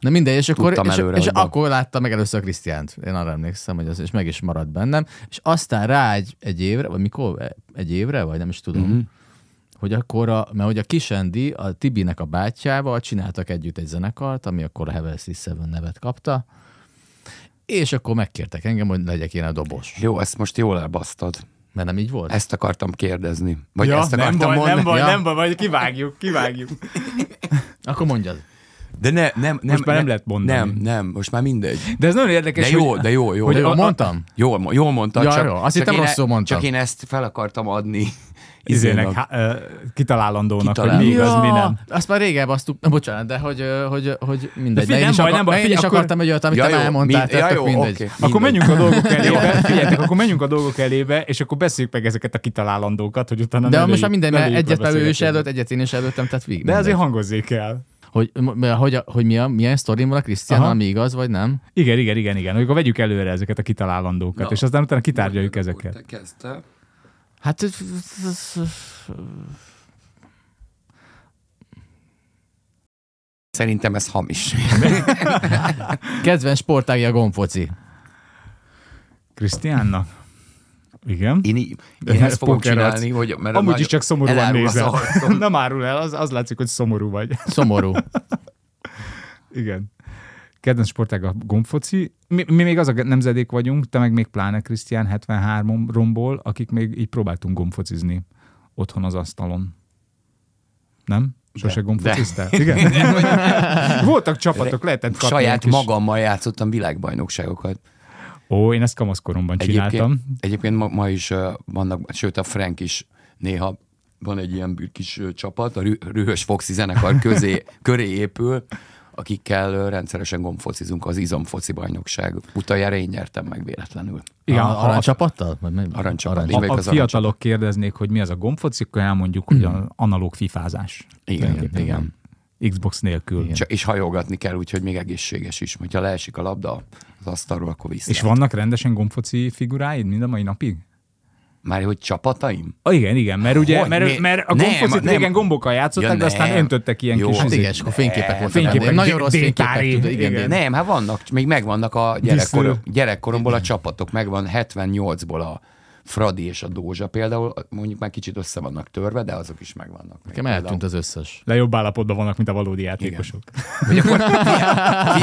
D: Na mindegy, és akkor,
E: Tudtam
D: és,
E: előre,
D: és
E: hogy baj.
D: akkor láttam meg először a Krisztiánt. Én arra emlékszem, hogy az, és meg is maradt bennem. És aztán rá egy, egy évre, vagy mikor? Egy évre, vagy nem is tudom.
E: Mhm.
D: Mm-hmm. Hogy akkor, a, mert hogy a Kisendi a Tibinek a bátyjával csináltak együtt egy zenekart, ami akkor a Heaven's Seven nevet kapta, és akkor megkértek engem, hogy legyek én a dobos.
E: Jó, ezt most jól elbasztad.
D: Mert nem így volt?
E: Ezt akartam kérdezni. Vagy ezt akartam mondani.
D: baj, Ja. nem
C: baj, majd kivágjuk, kivágjuk.
D: Akkor mondjad.
E: De ne, nem, nem,
C: Most már nem
E: ne-
C: lehet mondani.
E: Nem, nem, most már mindegy.
C: De ez nagyon érdekes,
E: De
C: hogy-
E: jó, de jó, jó.
D: Hogy
E: De jó.
D: jól mondtam?
E: Jól, mo- jól mondtad,
D: Ja,
E: csak,
D: jó. Azt
E: csak
D: hittem,
E: én e-
D: rosszul mondtam.
E: Csak én ezt fel akartam adni.
C: izének,
E: Izénak.
C: há, ö, kitalálandónak,
E: Kitalál-
C: hogy mi igaz, mi nem.
D: Azt már rég elbasztuk. Na, bocsánat, de hogy, ö, hogy, hogy mindegy.
C: De
D: De
C: figyelj,
D: én is,
C: nem baj, nem
D: akar,
C: baj,
D: én is
C: figyelj, akkor-
D: akartam egy olyat, amit
E: Ja,
D: te már
E: jó,
D: elmondtál,
E: mind- ja,
D: tehát tök
E: jó,
D: mindegy.
E: oké. Mindegy.
C: Akkor menjünk a dolgok elébe, figyeljetek, akkor menjünk a dolgok elébe, és akkor beszéljük meg ezeket a kitalálandókat, hogy utána
D: De
C: ne
D: most
C: lőjük-
D: már minden,
C: ne
D: mert
C: lőjük le
D: egyet ő is
C: beszélgetésbe.
D: előtt, egyet én is előttem, tehát végig.
C: De
D: mindegy.
C: azért hangozzék el.
D: Hogy, m- m- hogy, a- hogy mi a, milyen sztorim van a Krisztiánnal,
C: Aha.
D: ami igaz, vagy nem?
C: Igen, igen, igen, igen. Hogy Akkor vegyük előre ezeket a kitalálandókat,
E: Na.
C: és aztán utána kitárgyaljuk ezeket.
E: Kezdte.
D: Hát...
E: Szerintem ez hamis.
D: Kedvenc sportágja a gomfoci.
C: Krisztiánnak? Igen.
E: Én, í- én ezt fogom
C: Póker arc.
E: csinálni, hogy... Mert
C: Amúgy is
E: nagyon-
C: csak szomorúan
E: elárul az
C: nézel.
E: arcom.
C: Nem árul el, az, az látszik, hogy szomorú vagy.
D: Szomorú.
C: Igen. Kedvenc sportág a gombfoci. Mi, mi még az a nemzedék vagyunk, te meg még pláne Krisztián 73 romból, akik még így próbáltunk gombfocizni otthon az asztalon. Nem? Sose gombfociztál? Igen. Voltak csapatok, lehetett kapni.
E: Saját
C: egy kis-
E: magammal játszottam világbajnokságokat.
C: Ó, én ezt kamaszkoromban csináltam.
E: egyébként ma, ma is uh, vannak, sőt a Frank is néha van egy ilyen bű- kis uh, csapat, a Rü- Rühös Foxi zenekar közé, köré épül, akikkel uh, rendszeresen gombfocizunk az izomfoci bajnokság. Utoljára én nyertem meg véletlenül.
C: Igen,
D: A-
C: ha-
D: Aranycsapattal? Vagy mi?
E: Aranycsapat.
D: Aranycsapat.
E: Én
C: Ha
E: vagyok
C: a
E: az Hmm. aranycsapat.
C: fiatalok kérdeznék, hogy mi az a gombfoci, akkor elmondjuk, hogy a analóg fifázás.
E: Igen, igen. igen.
C: Xbox nélkül.
E: Csak, és hajogatni kell, úgyhogy még egészséges is. Hogyha leesik a labda az asztalról, akkor vissza.
C: És vannak rendesen gombfoci figuráid mind a mai napig?
E: Már hogy csapataim?
C: Ah, igen, igen, mert ugye,
E: Hogy?
C: mert,
E: Mi?
C: mert a
E: Nem,
C: gombfocit
E: nem.
C: régen gombokkal játszották,
E: Ja,
C: de aztán
E: nem.
C: öntöttek ilyen
E: Jó,
C: kis... izé-
D: Hát
E: az-
D: igen, és akkor fényképek voltak.
C: fényképek,
D: emlékszem. Nagyon
C: dé-
D: rossz
C: détári,
D: fényképek. tudod, Igen,
C: igen.
D: igen.
E: Nem, hát vannak, még megvannak a gyerekkorom, gyerekkoromból a csapatok, megvan 78-ból a Fradi és a Dózsa például, mondjuk már kicsit össze vannak törve, de azok is megvannak. Még
D: Nekem eltűnt az összes.
C: Le jobb állapotban vannak, mint a valódi játékosok.
E: Hogy akkor, fi,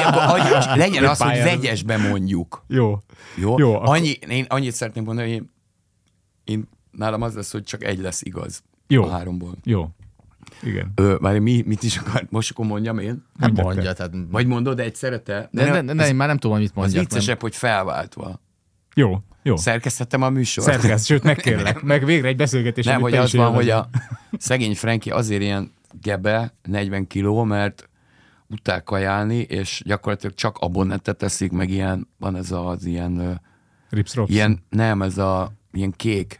E: akkor adj, legyen az, hogy
C: pályára.
E: vegyesbe mondjuk.
C: Jó.
E: Jó?
C: Jó,
E: Jó
C: akkor-
E: Annyi, én annyit szeretnék mondani, hogy én, én, nálam az lesz, hogy csak egy lesz igaz
C: Jó.
E: a háromból.
C: Jó. Igen.
E: Ö, már mi, mit is akart? Most akkor mondjam én?
D: Nem
C: Mindent
D: mondja, tehát...
E: Vagy mondod egyszerre te?
D: De, ne, ne,
E: ez,
D: ne, én már nem tudom, hogy mit
E: az
D: mondjak. nem.
E: viccesebb, hogy felváltva.
C: Jó. Jó.
E: Szerkesztettem a műsort.
C: Szerkesz, sőt, megkérlek. Meg végre egy beszélgetés.
E: Nem,
C: amit
E: hogy
C: te
E: az
C: is
E: van, hogy
C: élvezed.
E: a szegény Franki azért ilyen gebe, 40 kiló, mert utál kajálni, és gyakorlatilag csak abonnetet teszik, meg ilyen, van ez az ilyen, ö,
C: Rips Robson.
E: ilyen nem, ez a ilyen kék,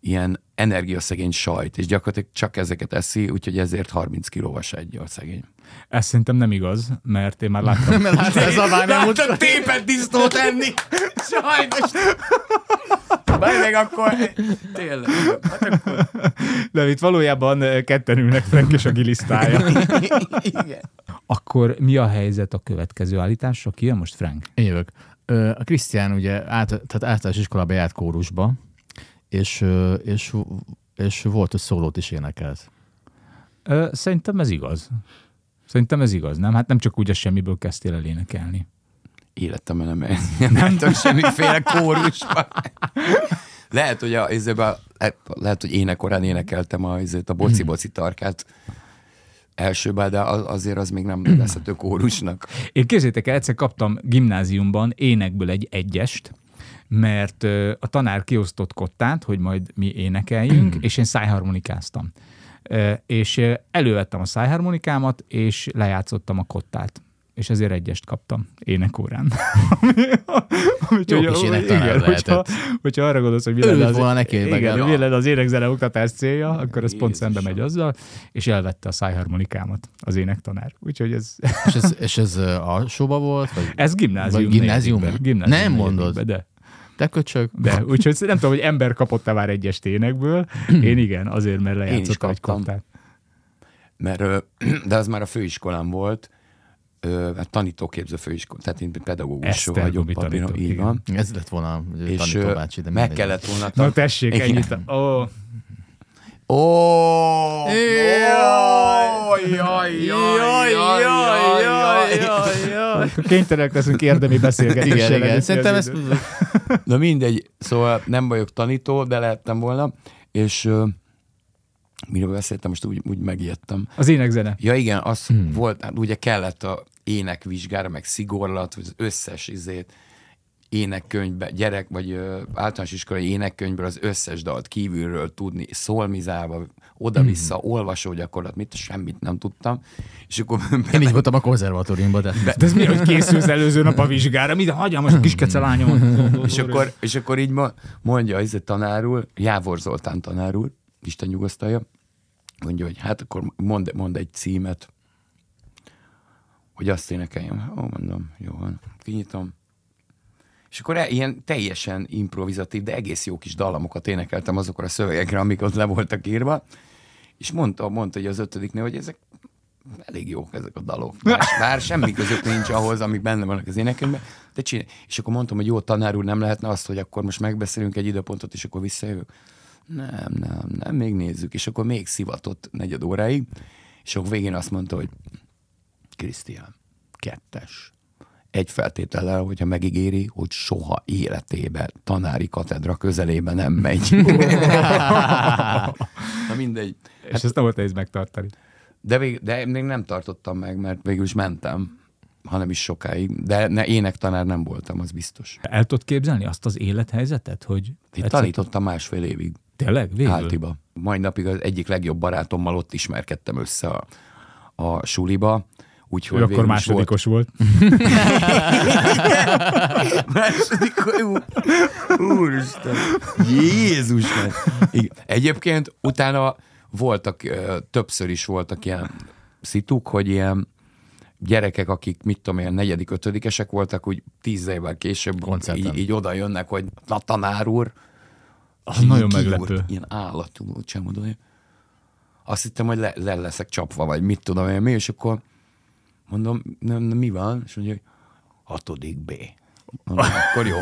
E: ilyen energiaszegény sajt, és gyakorlatilag csak ezeket eszi, úgyhogy ezért 30 kilóvas egy a szegény.
C: Ez szerintem nem igaz, mert én már láttam.
D: Mert hát ez a vágy nem úgy.
E: Láttam tépet disznót enni! Sajnos! Bár meg akkor... Tényleg. Hát akkor...
C: De itt valójában ö, ketten ülnek Frank és a gilisztája.
E: Igen.
C: Akkor mi a helyzet a következő állításra? Ki jön most Frank?
D: Én jövök. Ö, A Krisztián ugye át, tehát általános iskolába járt kórusba, és, ö, és, és volt, hogy szólót is énekelt.
C: Ö, szerintem ez igaz. Szerintem ez igaz, nem? Hát nem csak úgy a semmiből kezdtél el énekelni.
E: Életemben nem, nem jártam semmiféle kórusba. Lehet, hogy a, izébe, lehet, hogy énekorán énekeltem a, izét, a boci-boci tarkát elsőben, de a- azért az még nem nevezhető kórusnak.
C: Én képzétek el, egyszer kaptam gimnáziumban énekből egy egyest, mert ö, a tanár kiosztott kottát, hogy majd mi énekeljünk, és én szájharmonikáztam. Ö, És ö, elővettem a szájharmonikámat, és lejátszottam a kottát és ezért egyest kaptam énekórán. Ami- ami-
D: Jó kis
C: hogy-
D: énektanár
C: igen, hogyha,
D: lehetett.
C: hogyha arra gondolsz, hogy mi
D: Örült
C: lenne az,
D: volna neki, hogy
C: igen,
D: megáll-
C: mi lenne az énekzene oktatás célja, akkor ez pont
E: Jézusom.
C: szembe megy azzal, és elvette a szájharmonikámat az énektanár. Úgyhogy ez,
D: És ez, és ez ö, alsóba volt? Vagy
E: E-
C: ez gimnázium.
D: Vagy gimnázium?
C: negyedikben. gimnázium
D: Nem mondod.
C: negyedikben, De,
D: te köcsög?
C: de. Úgyhogy nem tudom, hogy ember kapott-e már egyes ténekből. Én igen, azért, mert
E: is
C: lejátszottam egy
E: kaptam.
C: kottát.
E: mert, ö, de az már a főiskolán volt, ö, hát tanítóképző főiskola, tehát én pedagógus
C: Esztergomi
E: vagyok papíron,
C: tanító,
E: így
C: igen.
E: van.
D: Ez lett volna a
E: És
D: tanító
E: ö,
D: bácsi, de
E: meg
D: mindegy.
E: kellett volna...
C: Na tessék,
E: Igen.
C: ennyit. Ó,
E: Ó! Ó,
D: Jaj!
E: Jaj!
D: Jaj, jaj, jaj, jaj, jaj.
C: akkor kénytelenek leszünk érdemi beszélgetésre.
D: Igen, igen.
C: lenni
D: Szerintem
C: az
D: ez...
C: időt.
E: Na mindegy, szóval nem vagyok tanító, de lehettem volna, és ö, miről beszéltem, most úgy, úgy megijedtem.
C: Az énekzene.
E: Ja igen, az hmm. volt, hát ugye kellett a énekvizsgára, meg szigorlat, hogy az összes izét énekkönyvbe, gyerek, vagy ö, általános iskolai énekkönyvből az összes dalt kívülről tudni, szolmizálva, oda-vissza, hmm. olvasógyakorlat, mit, semmit nem tudtam. És akkor
D: Én így voltam a konzervatóriumban, de...
C: De ez mi, hogy készülsz előző nap a vizsgára? Mi, de hagyjam most a kis kecelányom.
E: És akkor, és akkor így ma- mondja az tanárul, Jávor Zoltán tanárul, Isten nyugasztalja, mondja, hogy hát akkor mond, mond egy címet, hogy azt énekeljem. Ó, mondom, jó van, kinyitom. És akkor e- ilyen teljesen improvizatív, de egész jó kis dallamokat énekeltem azokra a szövegekre, amik ott le voltak írva. És mondta, mondta hogy az ötödiknél, hogy ezek elég jók ezek a dalok. Más, bár semmi közük nincs ahhoz, amik benne vannak az énekönyvben, de csinál. És akkor mondtam, hogy jó, tanár úr, nem lehetne azt, hogy akkor most megbeszélünk egy időpontot, és akkor visszajövök. Nem, nem, nem, még nézzük. És akkor még szivatott negyed óráig, és akkor végén azt mondta, hogy Krisztián, kettes. Egy feltétellel, hogyha megígéri, hogy soha életébe tanári katedra közelébe nem megy. Na mindegy.
C: És ezt nem volt nehéz megtartani.
E: De, vég, de még nem tartottam meg, mert végül is mentem, hanem is sokáig. De ne, énektanár nem voltam, az biztos.
C: El tudod képzelni azt az élethelyzetet, hogy...
E: Én
C: egyszer-
E: tanítottam másfél évig
C: Tényleg? Végül?
E: Áltiba. Mai napig az egyik legjobb barátommal ott ismerkedtem össze a, a suliba. Úgyhogy
C: Ő
E: végül
C: akkor
E: is
C: másodikos volt.
E: Volt. Másodikos. Ú, úristen. Jézus. már. Igen. Egyébként utána voltak, ö, többször is voltak ilyen szituk, hogy ilyen gyerekek, akik mit tudom én, negyedik, ötödikesek voltak, úgy tíz évvel később
D: Koncerten.
E: így, így oda jönnek, hogy na tanár úr,
C: Az nagyon
E: Ki
C: meglepő.
E: volt Ilyen állatú volt, sem mondom, hogy azt hittem, hogy le, le leszek csapva, vagy mit tudom én mi, és akkor mondom, nem, nem, mi van? És mondja, hogy hatodik B. Mondom, akkor jó.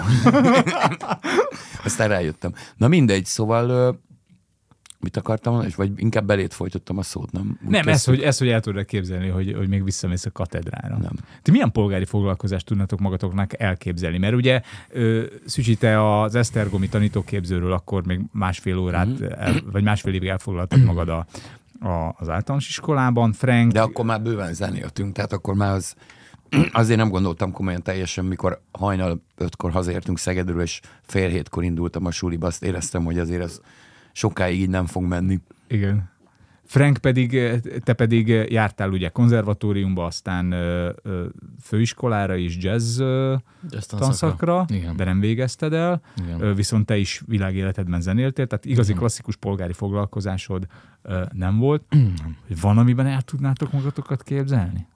E: Aztán rájöttem. Na mindegy, szóval ö, mit akartam mondani, és vagy inkább belét folytottam a szót, nem? Úgy
C: Nem, ez
E: kezdtük.
C: hogy, ez, hogy el tudod képzelni, hogy, hogy még visszamész a katedrára.
E: Nem.
C: Ti milyen polgári foglalkozást tudnátok magatoknak elképzelni? Mert ugye ö, Szücsi, te az Esztergomi tanítóképzőről akkor még másfél órát,
E: Mhm.
C: el, vagy másfél évig elfoglaltad magad a, a, az általános iskolában. Frank,
E: De akkor már bőven zenéltünk, tehát akkor már az, azért nem gondoltam komolyan teljesen, mikor hajnal ötkor hazaértünk Szegedről, és fél hétkor indultam a suliba, azt éreztem, hogy azért ez sokáig így nem fog menni.
C: igen. Frank pedig, eh, te pedig jártál ugye konzervatóriumba, aztán ö, ö, főiskolára is jazz ö,
D: Jazz tanszakra.
C: tanszakra,
D: Igen.
C: de nem végezted el,
D: Igen.
C: Ö, viszont te is világéletedben zenéltél, tehát igazi klasszikus polgári foglalkozásod ö, nem volt. Hogy Van, amiben el tudnátok magatokat képzelni?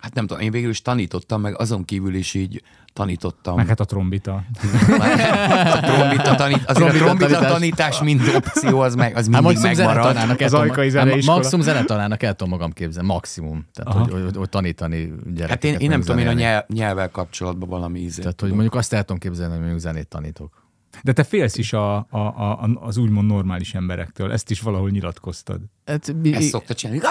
E: Hát nem tudom, én végül is tanítottam, meg azon kívül is így tanítottam.
C: Meg hát a trombita.
E: a trombita, tanít, azért a
D: Trombita
E: trombita
D: tanítás.
E: tanítás, mint opció, az, meg, az
D: Hát
E: mindig
D: maximum
E: megmarad.
D: zenetanárnak el
C: Az
D: tudom,
C: ajkai
D: hát,
C: zeneiskola.
D: maximum zenetanárnak el tudom magam képzelni, maximum. Tehát,
C: Aha.
D: hogy, hogy, hogy, tanítani gyerekeket.
E: Hát én, én nem
D: mondjuk
E: tudom, én a
D: zenélni.
E: nyelv, nyelvvel kapcsolatban valami ízét.
D: Tehát, hogy mondjuk azt el tudom képzelni, hogy mondjuk zenét tanítok.
C: De te félsz is a, a, a, a- az úgymond normális emberektől, ezt is valahol nyilatkoztad.
D: Hát, mi,
E: Ezt szokta csinálni.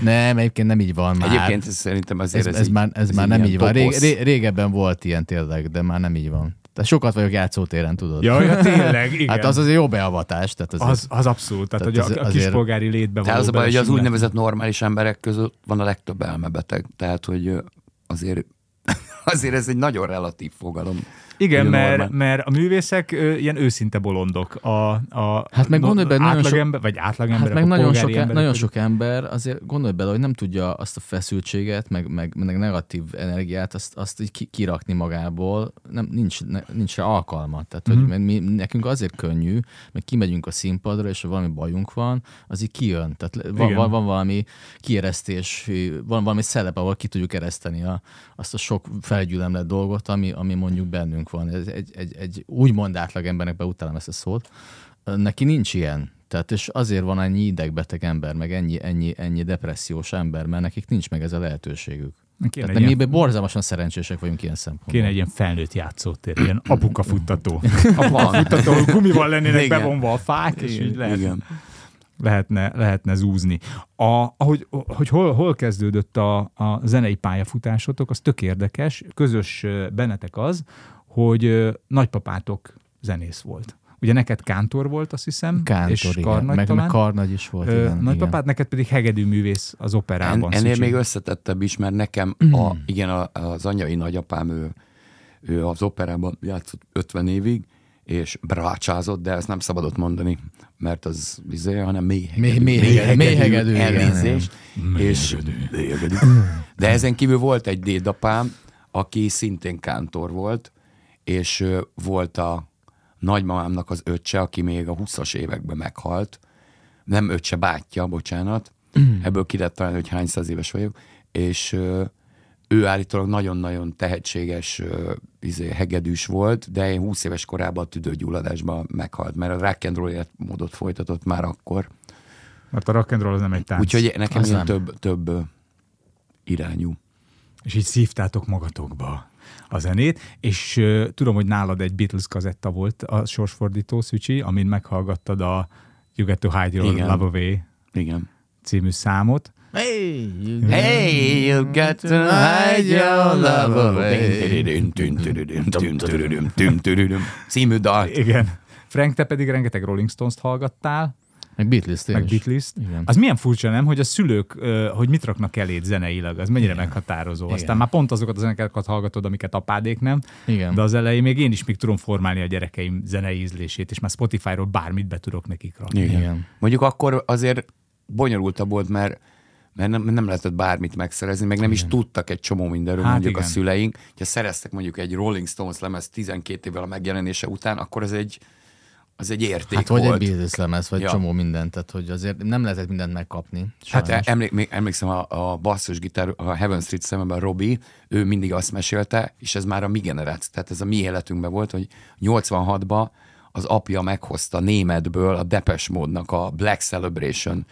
D: nem, egyébként nem így van már.
E: Egyébként ez szerintem
D: ez,
E: azért
D: Hát ez, ez, már, ez, már nem
E: ilyen
D: így van. Ré,
E: toposz.
D: ré, régebben volt ilyen tényleg, de már nem így van. Tehát sokat vagyok játszótéren, tudod.
C: Jaj, ja, tényleg, igen.
D: hát az azért jó beavatás. Tehát azért,
C: Az, az abszolút, tehát,
D: Tehát
C: hogy a,
D: ez
C: a
D: azért-
C: kispolgári létbe
E: Tehát
C: való
E: az a baj, hogy az
C: belesimlás.
E: úgynevezett normális emberek között van a legtöbb elmebeteg. Tehát, hogy ö, azért azért ez egy nagyon relatív fogalom.
C: Igen,
E: Hogy a
C: mert,
E: normál-
C: mert a művészek ö, ilyen őszinte bolondok. A, a,
D: Hát meg gondolj bele, nagyon sok-
C: átlagember, vagy átlagember,
D: Hát meg nagyon sok, nagyon sok ember azért gondolj bele, hogy nem tudja azt a feszültséget, meg, meg, meg negatív energiát, azt, azt így ki- kirakni magából, nem, nincs, ne, nincs rá alkalma. Tehát, hogy mert mi, nekünk azért könnyű, mert kimegyünk a színpadra, és ha valami bajunk van, az így kijön. Tehát le- van,
C: Igen.
D: van, van valami kieresztés, van valami szelep, ahol ki tudjuk ereszteni a, azt a sok felgyülemlett dolgot, ami, ami mondjuk bennünk van. Ez egy, egy, egy úgymond átlag embernek beutálom ezt a szót, neki nincs ilyen. Tehát és azért van ennyi idegbeteg ember, meg ennyi, ennyi, ennyi depressziós ember, mert nekik nincs meg ez a lehetőségük.
C: Kéne,
D: Tehát
C: egy
D: mi
C: ilyen,
D: be borzalmasan szerencsések vagyunk ilyen szempontból.
C: kéne egy ilyen felnőtt játszótér, ilyen apuka futtató.
E: A van.
C: Tehát ahol gumival lennének
E: Igen.
C: bevonva a fák, és így lehet,
E: Igen.
C: lehetne, lehetne zúzni. A, ahogy, hogy hol, hol kezdődött a, a zenei pályafutásotok, az tök érdekes. Közös ö, bennetek az, hogy ö, nagypapátok zenész volt. Ugye neked kántor volt, azt hiszem,
D: Kántor,
C: és
D: igen.
C: karnagy
D: meg,
C: talán.
D: meg karnagy is volt.
C: Ö,
D: igen,
C: Nagypapád,
D: igen.
C: neked pedig hegedűművész az
E: En,
C: operában.
E: ennél
C: Szücsi.
E: még összetettebb is, mert nekem a, igen, a, az anyai nagyapám, ő, ő az operában játszott 50 évig, és brácsázott, de ezt nem szabadott mondani, mert az izé, hanem méhegedű.
D: Méh- méhegedű, méhegedű, igen.
E: elnézést. És, méhegedű. De ezen kívül volt egy dédapám, aki szintén kántor volt, és ö, volt a nagymamámnak az öccse, aki még a 20-as években meghalt, nem öccse, bátyja, bocsánat, ebből ki lehet találni, hogy hány száz éves vagyok, és ö, ő állítólag nagyon-nagyon tehetséges ö, izé, hegedűs volt, de én 20 éves korában a tüdőgyulladásban meghalt, mert a rock and roll életmódot folytatott már akkor.
C: Mert a rock and roll Hát, az nem egy tánc.
E: Úgyhogy nekem
D: Az
E: ilyen
D: nem.
E: több, több ö, irányú.
C: És így szívtátok magatokba a zenét, és uh, tudom, hogy nálad egy Beatles kazetta volt a sorsfordító, Szücsi, amin meghallgattad a You Get to Hide Your
E: Igen.
C: Love Away
E: Igen.
C: című számot.
D: Hey,
E: Hey, you got to hide your love away. Című dal.
C: Igen. Frank, te pedig rengeteg Rolling Stones-t hallgattál,
D: Meg Beatles
C: meg
D: tényleg.
C: beatles
D: Igen.
C: Az milyen furcsa, nem, hogy a szülők, ö, hogy mit raknak elét zeneileg, az mennyire meghatározó. Aztán
D: Igen.
C: már pont azokat a zenekákat hallgatod, amiket apádék nem,
D: Igen.
C: de az elején még én is még tudom formálni a gyerekeim zenei ízlését, és már Spotify-ról bármit be tudok nekik rakni.
E: Igen.
D: Igen.
E: Mondjuk akkor azért bonyolultabb volt, mert, mert nem, nem lehetett bármit megszerezni, meg nem is tudtak egy csomó mindenről,
C: Hát
E: hát mondjuk
C: igen.
E: a szüleink. Ha szereztek mondjuk egy Rolling Stones lemez 12 évvel a megjelenése után, akkor az egy, az egy érték
D: Hát
E: volt.
D: vagy egy Beatles lemez, vagy
E: Ja.
D: ja. csomó mindent, tehát hogy azért nem lehetett mindent megkapni.
E: Hát
D: Sajnos.
E: em- emlék, még emlékszem, a, a basszusgitár, a Heaven Street szememben Robi, ő mindig azt mesélte, és ez már a mi generáció, tehát ez a mi életünkben volt, hogy 86-ba az apja meghozta németből a Depeche Mode-nak a Black Celebration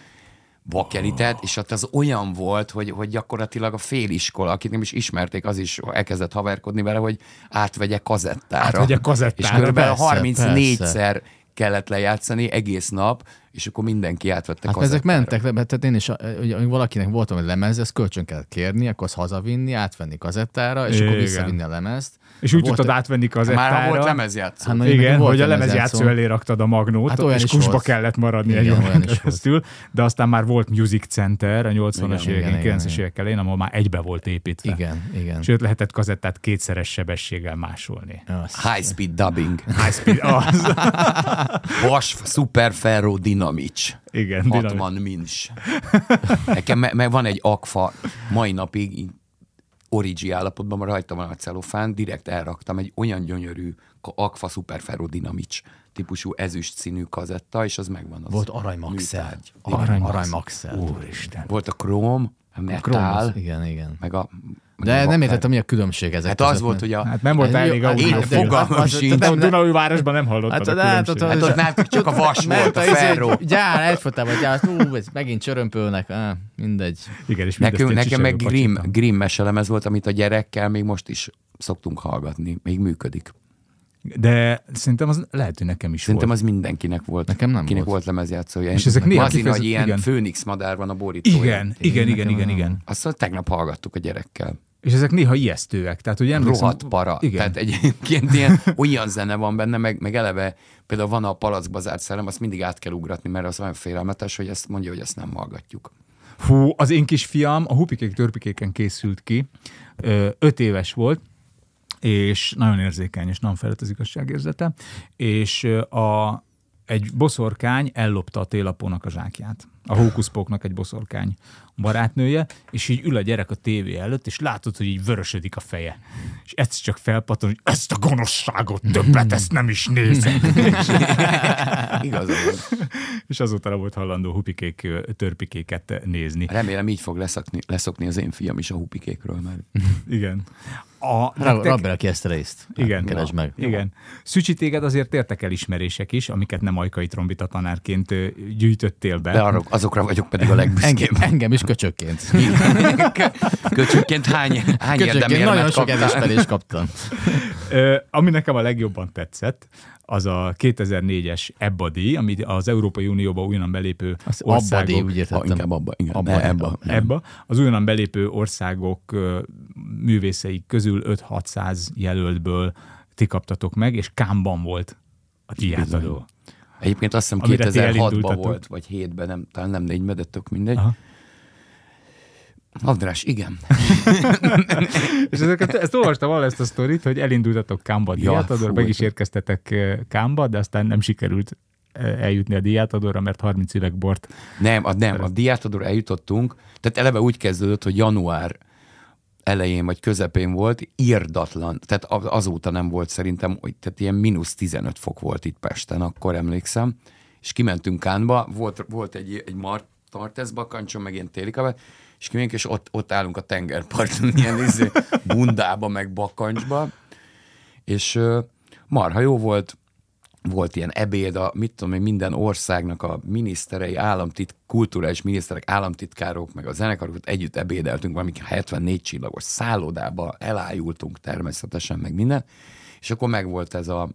E: vakelitet, és ott az olyan volt, hogy, hogy gyakorlatilag a féliskola, akit nem is ismerték, az is elkezdett haverkodni vele, hogy átvegye kazettára.
C: Átvegye kazettára,
E: És körülbelül
D: persze,
E: 34-szer
D: persze.
E: egyszer kellett lejátszani egész nap, és akkor mindenki átvette
D: Hát ezek
E: kazettára.
D: mentek, le, tehát én is, eh, ugye, amíg valakinek voltam egy lemez, ezt kölcsön kellett kérni, akkor azt hazavinni, átvenni kazettára, és akkor
C: Igen.
D: visszavinni a lemezt.
C: És úgy
D: Volt-
C: tudtad átvenni kazettára.
E: Már ha volt lemezjátszó.
D: Hát, na, nekünk
C: Igen,
D: volt
C: hogy a
D: lemezjátszó.
C: lemezjátszó elé raktad a magnót,
D: szóval- Hát
C: hát
D: olyan
C: és
D: is
C: kusba
D: volt.
C: kellett maradni
D: Igen,
C: egy
D: olyan
C: órán
D: is volt.
C: keresztül, de aztán már volt Music Center a 80-as
D: Igen, igen,
C: évek,
D: igen,
C: 90-es
D: igen.
C: évek elején, ahol már egybe volt építve.
D: Igen, igen.
C: Sőt, lehetett kazettát kétszeres sebességgel másolni.
D: Azt.
E: High speed dubbing.
C: High speed, az,
E: Vas Super Ferro Dynamics.
C: igen, dinamit.
E: Hatman Minch. Nekem me- meg van egy akfa, mai napig így origi állapotban van rajta van a celofán, direkt elraktam egy olyan gyönyörű ka- akfa Super Ferro Dynamics típusú ezüst színű kazetta, és az megvan az.
D: Volt aranymaxel.
E: műtárgy.
D: Arany, aranymaxel.
C: Úristen.
E: Volt a króm, a
D: Kromosz,
E: metal,
D: igen, igen.
E: meg a...
D: De
E: a
D: nem
E: vaper.
D: értettem, mi a különbség ezek
E: Hát az
D: között,
E: volt,
D: mert-
E: hogy a...
C: Hát nem volt
D: Hát
C: elég
D: jó, hát
C: audio.
E: Én
D: különbség.
E: fogalmam
D: Hát az-
E: sincs.
D: tehát
C: A
D: nem-
C: Dunaújvárosban nem hallottad
D: Hát,
C: a
D: de hát
C: különbséget.
E: Hát ott náltuk csak a vas volt,
D: Mert
E: a
D: a izé,
E: ferro.
D: gyár, egyfotában gyár, ú, ez megint csörömpölnek, á, mindegy.
C: Igen, és mindezt
E: Nekünk,
C: ilyen
E: nekem meg
C: csicsergő
E: Grimm,
C: pacsittam.
E: Grimm meselemez volt, amit a gyerekkel még most is szoktunk hallgatni, még működik.
C: De szerintem az lehet, hogy nekem is
E: Szerintem
C: volt.
E: az mindenkinek volt.
D: Nekem nem
E: Kinek
D: volt.
E: volt lemezjátszója.
C: És ezek néha
E: Mazin, hogy
C: kifejezett-
E: ilyen
C: igen.
E: főnix madár van a borítóján.
C: Igen, igen, igen,
D: nekem
C: igen,
D: nem.
C: igen.
E: Azt mondja, tegnap hallgattuk a gyerekkel.
C: És ezek néha ijesztőek. Tehát, hogy emlékszem,
E: Rohadt para. Igen.
C: Igen.
E: Tehát egyébként ilyen olyan zene van benne, meg, meg eleve például van a palackba zárt szerelem, azt mindig át kell ugratni, mert az olyan félelmetes, hogy ezt mondja, hogy ezt nem hallgatjuk.
C: Hú, az én kisfiam a hupikék törpikéken készült ki, Ö, öt éves volt, és nagyon érzékeny, és nem felett az igazságérzete, és ö, a, egy boszorkány ellopta a télapónak a zsákját. A hókuszpóknak egy boszorkány barátnője, és így ül a gyerek a tévé előtt, és látod, hogy így vörösödik a feje. És egyszer csak felpattan, hogy ezt a gonoszságot többet, ezt nem is nézem.
E: Igazad van.
C: és azóta nem volt hallandó hupikék ö, törpikéket nézni.
E: Remélem így fog leszakni, leszokni az én fiam is a hupikékről már.
C: Igen. A,
D: Rab-
C: nektek-
D: Rabra ki ezt a részt.
C: Igen.
D: Hát, Keresd meg.
C: Igen. Szücsi, téged azért értek el ismerések is, amiket nem ajkai trombita tanárként ö, gyűjtöttél be.
E: De arra, azokra vagyok pedig a legbüszkébb.
D: Engem, engem is köcsökként.
E: Köcsökként hány, hány
D: Köcsökként nagyon
E: érdemérmet
D: sok
E: kaptál?
D: elismerést kaptam.
C: Ö, ami nekem a legjobban tetszett, az a 2004-es EBBA-díj, ami az Európai Unióba újonnan belépő
D: Az
C: országok...
D: abbadi, úgy
E: Ha,
D: értettem.
E: inkább abba, igen.
D: Abba,
E: ne, ebba.
C: ebbe. Az újonnan belépő országok ö, művészei közül 5-600 jelöltből ti kaptatok meg, és Kámban volt a ti átadó.
E: Egyébként azt hiszem
C: Amire ti
E: 2006-ban
C: elindultatok.
E: volt, vagy 7-ben, nem, talán nem 4 de tök mindegy.
C: Aha.
E: András, igen.
C: És ezeket, ezt olvastam valahol ezt a sztorit, hogy elindultatok Kámba
E: Ja,
C: diátadóra,
E: fú,
C: meg is
E: ez-
C: érkeztetek eh, Kámba, de aztán nem sikerült eh, eljutni a diátadóra, mert 30 üveg bort.
E: Nem, a, nem, a diátadóra eljutottunk, tehát eleve úgy kezdődött, hogy január elején vagy közepén volt, írdatlan, tehát az- azóta nem volt szerintem, hogy- tehát ilyen mínusz 15 fok volt itt Pesten, akkor emlékszem, és kimentünk Kánba, volt, volt egy, egy mar, Tartesz bakancson, meg ilyen téli kabát, és kimegyünk, és ott, ott állunk a tengerparton, ilyen izé, bundába, meg bakancsba, és ö, marha jó volt, volt ilyen ebéd, a, mit tudom én, minden országnak a miniszterei, államtit, kulturális miniszterek, államtitkárok, meg a zenekarok, ott együtt ebédeltünk valami 74 csillagos szállodába, elájultunk természetesen, meg minden, és akkor megvolt ez a,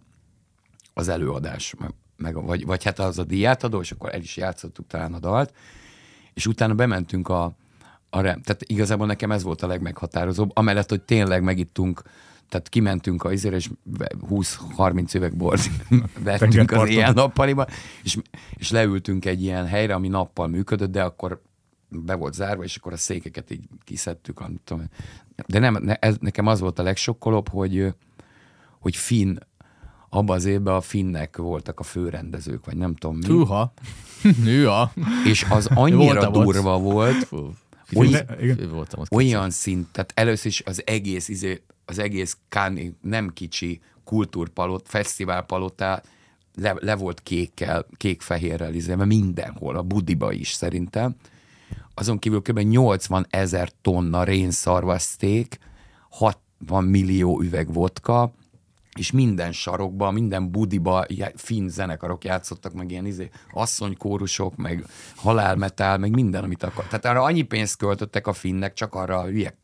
E: az előadás, meg- meg, a- vagy, vagy hát az a díjátadó, és akkor el is játszottuk talán a dalt, és utána bementünk a, a rem. Tehát igazából nekem ez volt a legmeghatározóbb, amellett, hogy tényleg megittunk, tehát kimentünk a izére, és ve- 20-30 üveg bort vettünk az
C: Tengerparton.
E: ilyen nappaliba, és, és leültünk egy ilyen helyre, ami nappal működött, de akkor be volt zárva, és akkor a székeket így kiszedtük. ah, nem Tudom. én. De nem, ne, ez, nekem az volt a legsokkolóbb, hogy, ö, hogy finn, abban az évben a finnek voltak a főrendezők, vagy nem tudom mi.
D: Hűha. Hűha.
E: És az annyira
D: Voltam ott.
E: durva volt,
D: Fú,
E: Olyan-
D: figyelj, Voltam ott.
E: olyan szint, tehát először is az egész, izé, az egész káni, nem kicsi kultúrpalot, fesztiválpalotá le, le volt kékkel, kék-fehérrel izélve mindenhol, a budiba is szerintem. Azon kívül kb. 80 ezer tonna rénszarvaszték, 60 millió üveg vodka, és minden sarokba, minden budiba já- finn zenekarok játszottak, meg ilyen izé, asszonykórusok, meg halálmetál, meg minden, amit akar. Tehát arra annyi pénzt költöttek a finnek, csak arra a hülyek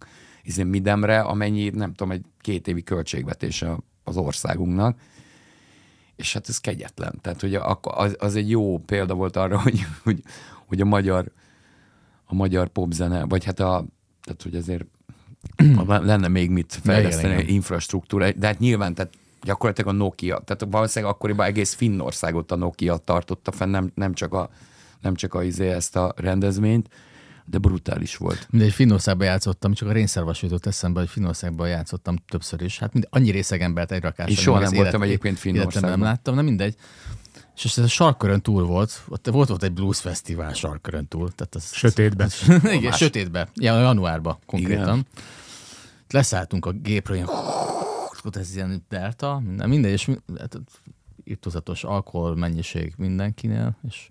E: izé, midemre, amennyi, nem tudom, egy két évi költségvetés a- az országunknak. és hát ez kegyetlen. Tehát hogy ak- az, az egy jó példa volt arra, hogy, hogy, hogy a magyar a magyar popzene, vagy hát a, tehát hogy azért ha lenne még mit fejleszteni,
D: igen,
E: igen,
D: igen.
E: infrastruktúra, de hát nyilván, tehát gyakorlatilag a Nokia, tehát valószínűleg akkoriban egész Finnországot a Nokia tartotta fenn, nem, nem csak a nem csak a, izé, ezt a rendezvényt, de brutális volt.
D: Mindegy, Finnországban játszottam, csak a rénszarvas jutott eszembe, hogy Finnországban játszottam többször is. Hát mind, annyi részeg embert egy rakásra.
E: Én soha
D: még
E: nem
D: az
E: voltam egyébként
D: életemben
E: Finnországban.
D: Nem láttam, na mindegy. És ez a sarkkörön túl volt, ott volt, volt egy blues fesztivál sarkkörön túl. Tehát az,
C: Sötétben.
D: Igen, sötétbe. Ja, januárba konkrétan. Igen. Leszálltunk a gépről, ilyen, ott ez ilyen delta, minden, mindegy, és mi- hát, irtózatos alkohol mennyiség mindenkinél, és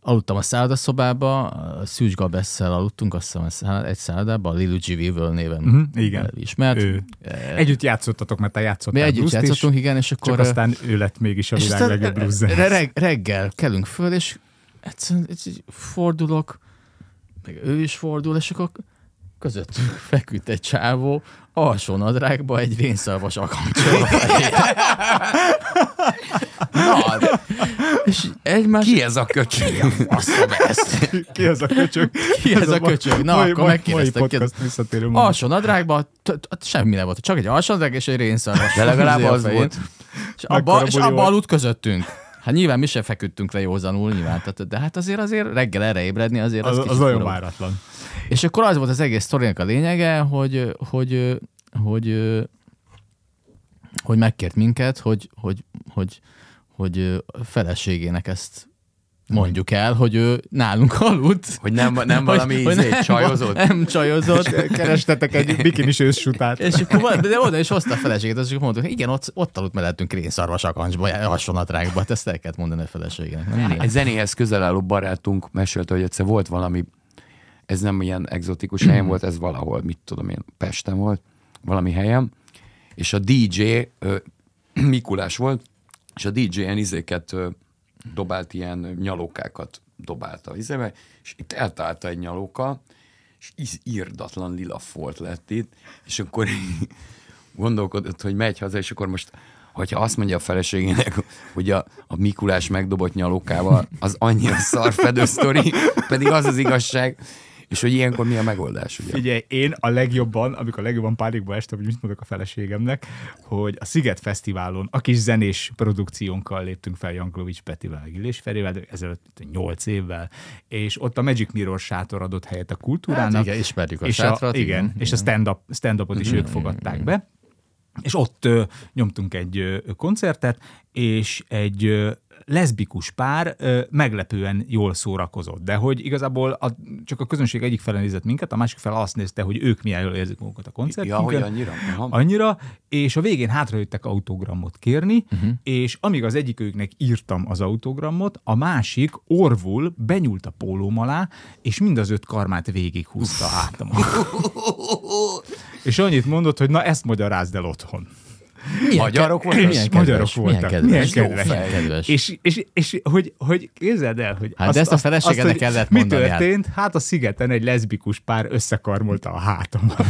D: aludtam a szállodaszobába, a Szűcs Gabesszel aludtunk, azt hiszem a száll- egy szállodában, a Lilu G. Weevil néven
C: Mhm, igen.
D: ismert.
C: Ő. Együtt játszottatok, mert te játszottál
D: Eh. Mi együtt
C: blues-t is,
D: játszottunk, igen, és akkor...
C: Csak
D: ö,
C: aztán ő lett mégis a világ
D: aztán
C: legjobb blues
D: re- reg- reggel kelünk föl, és egyszerűen egy- egy fordulok, meg ő is fordul, és akkor közöttünk feküdt egy csávó, alsó nadrágba egy rénszarvas akancsol.
E: Na, de
D: és egymás...
E: ki ez a köcsög?
D: Basszom ezt.
C: Ki ez a köcsög?
D: Ki ez a köcsög? Na,
C: mai,
D: akkor
C: mai, mai
D: megkérdeztem, ki Ah, ez-
C: podcast visszatérő mondat.
D: Alsó nadrágban t- t- semmi nem volt, csak egy alsó nadrág és egy rénszarvas.
E: De legalább
D: Izé a
E: az
D: fején.
E: volt.
D: És abba,
C: Mekkora
D: és
C: buli
D: abba
C: volt.
D: aludt közöttünk. Hát nyilván mi sem feküdtünk le józanul, nyilván, tehát, de hát azért azért reggel erre ébredni azért az,
C: Az,
D: kicsit
C: az nagyon
D: fura.
C: váratlan.
D: És akkor az volt az egész sztorinak a lényege, hogy, hogy, hogy, hogy megkért minket, hogy, hogy, hogy, hogy a feleségének ezt mondjuk el, hogy ő nálunk aludt.
E: Hogy nem, nem valami
D: Hogy- hogy
E: izé,
D: nem-
E: csajozott?
D: Nem csajozott.
C: Kerestetek egy bikinis őssutát.
D: És akkor val- de oda is hozta a feleséget, és akkor mondtuk, igen, ott, ott aludt mellettünk rénszarvas akancsba, hasonlatrákba, hát ezt el kellett mondani a feleségének. Nem,
E: Hát Egy zenéhez közel álló barátunk mesélte, hogy egyszer volt valami, ez nem ilyen egzotikus helyen volt, ez valahol, mit tudom én, Pesten volt, valami helyen, és a DJ ö, Mikulás volt, és a DJ ilyen izéket ö, dobált, ilyen nyalókákat dobálta izébe, és itt eltalálta egy nyalóka, és íz- írdatlan lila folt lett itt, és akkor gondolkodott, hogy megy haza, és akkor most, hogyha azt mondja a feleségének, hogy a, a Mikulás megdobott nyalókával, az annyira szarfedő sztori, pedig az az igazság, és hogy ilyenkor mi a megoldás, ugye?
C: Figyelj, én a legjobban, amikor a legjobban pánikba estem, hogy mit mondok a feleségemnek, hogy a Sziget Fesztiválon a kis zenés produkciónkkal léptünk fel Janklovics Petivel, meg Illés Ferivel, de ezelőtt nyolc évvel, és ott a Magic Mirror sátor adott helyet a kultúrának.
D: Hát igen, ismerjük a
C: és
D: sátrat,
C: A,
D: igen, Mhm.
C: igen, és a stand-up, stand-upot is ők fogadták be. És ott ö, nyomtunk egy ö, koncertet, és egy ö, leszbikus pár ö, meglepően jól szórakozott. De hogy igazából a, csak a közönség egyik fele nézett minket, a másik fele azt nézte, hogy ők milyen jól érzik magukat a koncertünkön.
E: Ja, hogy annyira? Aha.
C: Annyira, és a végén hátrajöttek autogramot kérni,
E: Mhm.
C: uh-huh. és amíg az egyikőknek írtam az autogramot, a másik orvul benyúlt a pólóm alá, és mind az öt karmát végighúzta a hátamon. és annyit mondott, hogy na ezt magyarázd el otthon.
D: Milyen
E: Magyarok
D: ke-
E: voltak?
D: milyen
C: És magyarok
D: kedves,
C: voltak.
D: Milyen kedves.
C: Milyen
D: Milyen
C: kedves.
D: kedves.
C: És, és, és hogy, hogy képzeld el, hogy
D: Hát de ezt a feleségednek
C: hogy
D: kellett
C: Mi
D: mondani, hát.
C: történt? Hát a szigeten egy leszbikus pár összekarmolta a hátamat.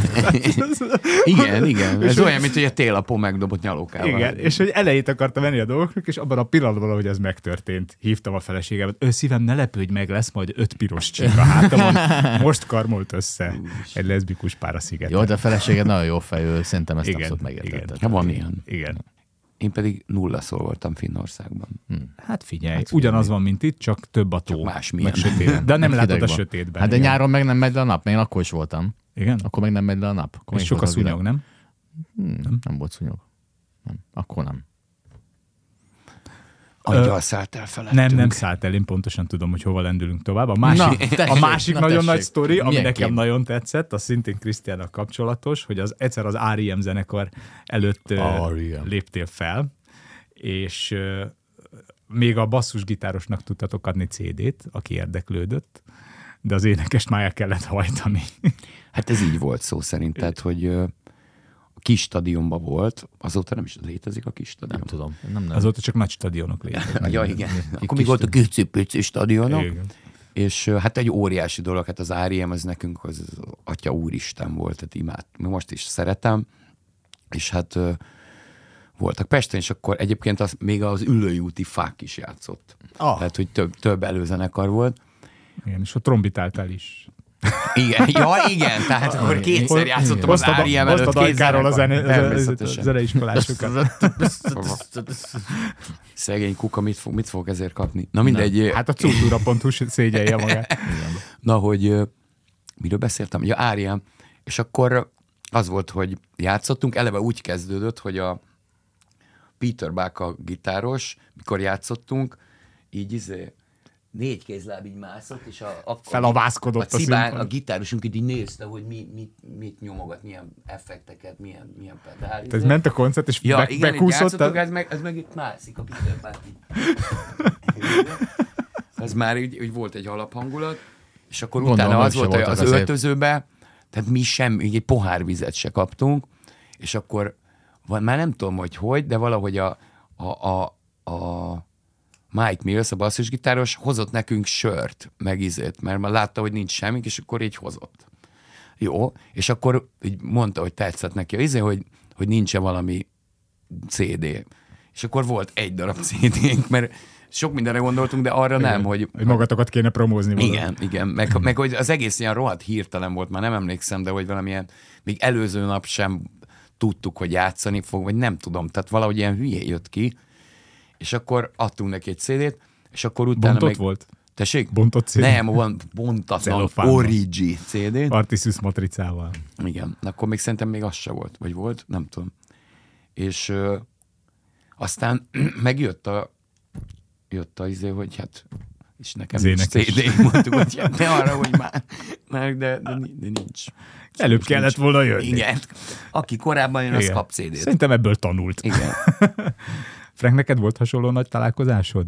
E: Igen, igen. Ez olyan, mint hogy a télapon megdobott nyalókával.
C: Igen, és hogy elejét akarta venni a dolgoknak, és abban a pillanatban, ahogy ez megtörtént, hívtam a feleségemet, ő szívem, ne lepődj meg, lesz majd öt piros csík a hátamon. Most karmolt össze egy leszbikus pár a szigeten.
D: Jó, de a feleséged nagyon jó fejű, szerintem ezt
C: Igen,
D: abszolút
C: igen.
D: megértetted.
E: Ja, Hát van ilyen.
C: Igen.
E: Én pedig nulla szól voltam Finnországban.
C: Hát figyelj, hát figyelj, ugyanaz van, mint itt, csak több a tó. Csak
E: másmilyen.
C: sötét. Hát, De nem
D: Hideg
C: látod a
D: van.
C: sötétben.
D: Hát de
C: igen.
D: nyáron meg nem megy le a nap, még én akkor is voltam.
C: Igen?
D: Akkor meg nem megy le a nap. Akkor
C: És
D: még
C: sok a
D: volt világ.
C: szúnyog, nem?
D: Nem, nem volt szúnyog. Nem. Akkor nem.
E: Angyal szállt el felettünk.
C: Nem, nem szállt el, én pontosan tudom, hogy hova lendülünk tovább. A másik,
D: Na, tessék,
C: a másik
D: na,
C: nagyon
D: tessék.
C: nagy sztori, ami
D: Milyen
C: nekem
D: kép?
C: nagyon tetszett, az szintén Krisztiának kapcsolatos, hogy az egyszer az R.E.M. zenekar előtt ö,
D: R.E.M..
C: léptél fel, és ö, még a basszusgitárosnak tudtatok adni CD-t, aki érdeklődött, de az énekest már el kellett hajtani.
E: Hát ez így volt szó szerint, tehát, hogy ö, a kis stadionban volt, azóta nem is létezik a kis stadion.
D: Nem tudom. Nem, nem.
C: Azóta csak nagy stadionok léteznek.
E: Ja, igen. Akkor még volt a kicsi-pici stadionok,
C: Igen.
E: és ö, hát egy óriási dolog, hát az R.E.M. az nekünk az, az atya úristen volt, tehát imád, mi most is szeretem, és hát ö, voltak Pesten, és akkor egyébként az, még az Üllői úti fák is játszott.
D: Ah.
E: Tehát, hogy több, több előzenekar volt.
C: Igen, és ott trombitáltál is.
E: Igen, ja igen, tehát akkor kétszer játszottam az
C: Hoztad Ah, a-
D: E
E: Áriem
C: hoztad
E: előtt,
C: a Ajkáról a
E: zenekarban,
C: zene- zene-
E: természetesen.
C: zeneiskolásokat.
E: Szegény kuka, mit fog, mit fog ezért kapni? Na mindegy,
C: Hát a cultúra.hu szégyelje magát.
E: Na, hogy ö, miről beszéltem? Ja, Áriám. És akkor az volt, hogy játszottunk, eleve úgy kezdődött, hogy a Peter Báka gitáros, mikor játszottunk, így izé, négy kézláb így mászott, és a, akkor
C: Felavászkodott
E: a,
C: a
E: cibán, a,
C: színpadon.
E: gitárosunk így nézte, hogy mi, mit, mit nyomogat, milyen effekteket, milyen, milyen pedál.
C: Tehát
E: izé.
C: ment a koncert, és
E: Ja,
C: ja, be,
E: igen,
C: bekúszott.
E: játszottunk,
C: A...
E: ez meg, ez meg itt mászik a Peter Pan. ez már úgy, úgy, volt egy alaphangulat, és akkor
D: Gondolom,
E: utána az
D: ők se
E: volt, hogy az
D: voltak azért.
E: öltözőbe, tehát mi sem, így egy pohár vizet se kaptunk, és akkor van, már nem tudom, hogy hogy, de valahogy a, a, a, a Mike Mills, a basszusgitáros, hozott nekünk sört, meg izét, mert már látta, hogy nincs semmi, és akkor így hozott. Jó, és akkor így mondta, hogy tetszett neki a izé, hogy, hogy nincs-e valami CD. És akkor volt egy darab CD-nk, mert sok mindenre gondoltunk, de arra nem, hogy
C: Hogy magatokat kéne promózni. valahogy.
E: igen, igen, meg, meg hogy az egész ilyen rohadt hirtelen volt, már nem emlékszem, de hogy valamilyen, még előző nap sem tudtuk, hogy játszani fog, vagy nem tudom, tehát valahogy ilyen hülye jött ki, és akkor adtunk neki egy CD-t, és akkor utána
C: Bontott
E: meg...
C: volt?
E: Tessék?
C: Bontott CD?
E: Nem, van bontatlan
C: Celofánnal.
E: Origi CD-t.
C: Artiszus matricával.
E: Igen, akkor még szerintem még az se volt, vagy volt, nem tudom. És ö, aztán megjött a jött a izé, hogy hát és nekem
C: Az
E: nincs
C: énekes.
E: CD, mondtuk, hogy hát ne arra, hogy már, már de, de, ni- de nincs.
C: Előbb
E: Most
C: kellett
E: nincs.
C: volna jönni.
E: Igen. Aki korábban jön, az
C: Igen.
E: kap CD-t.
C: Szerintem ebből tanult.
E: Igen.
C: Frank, neked volt hasonló nagy találkozásod?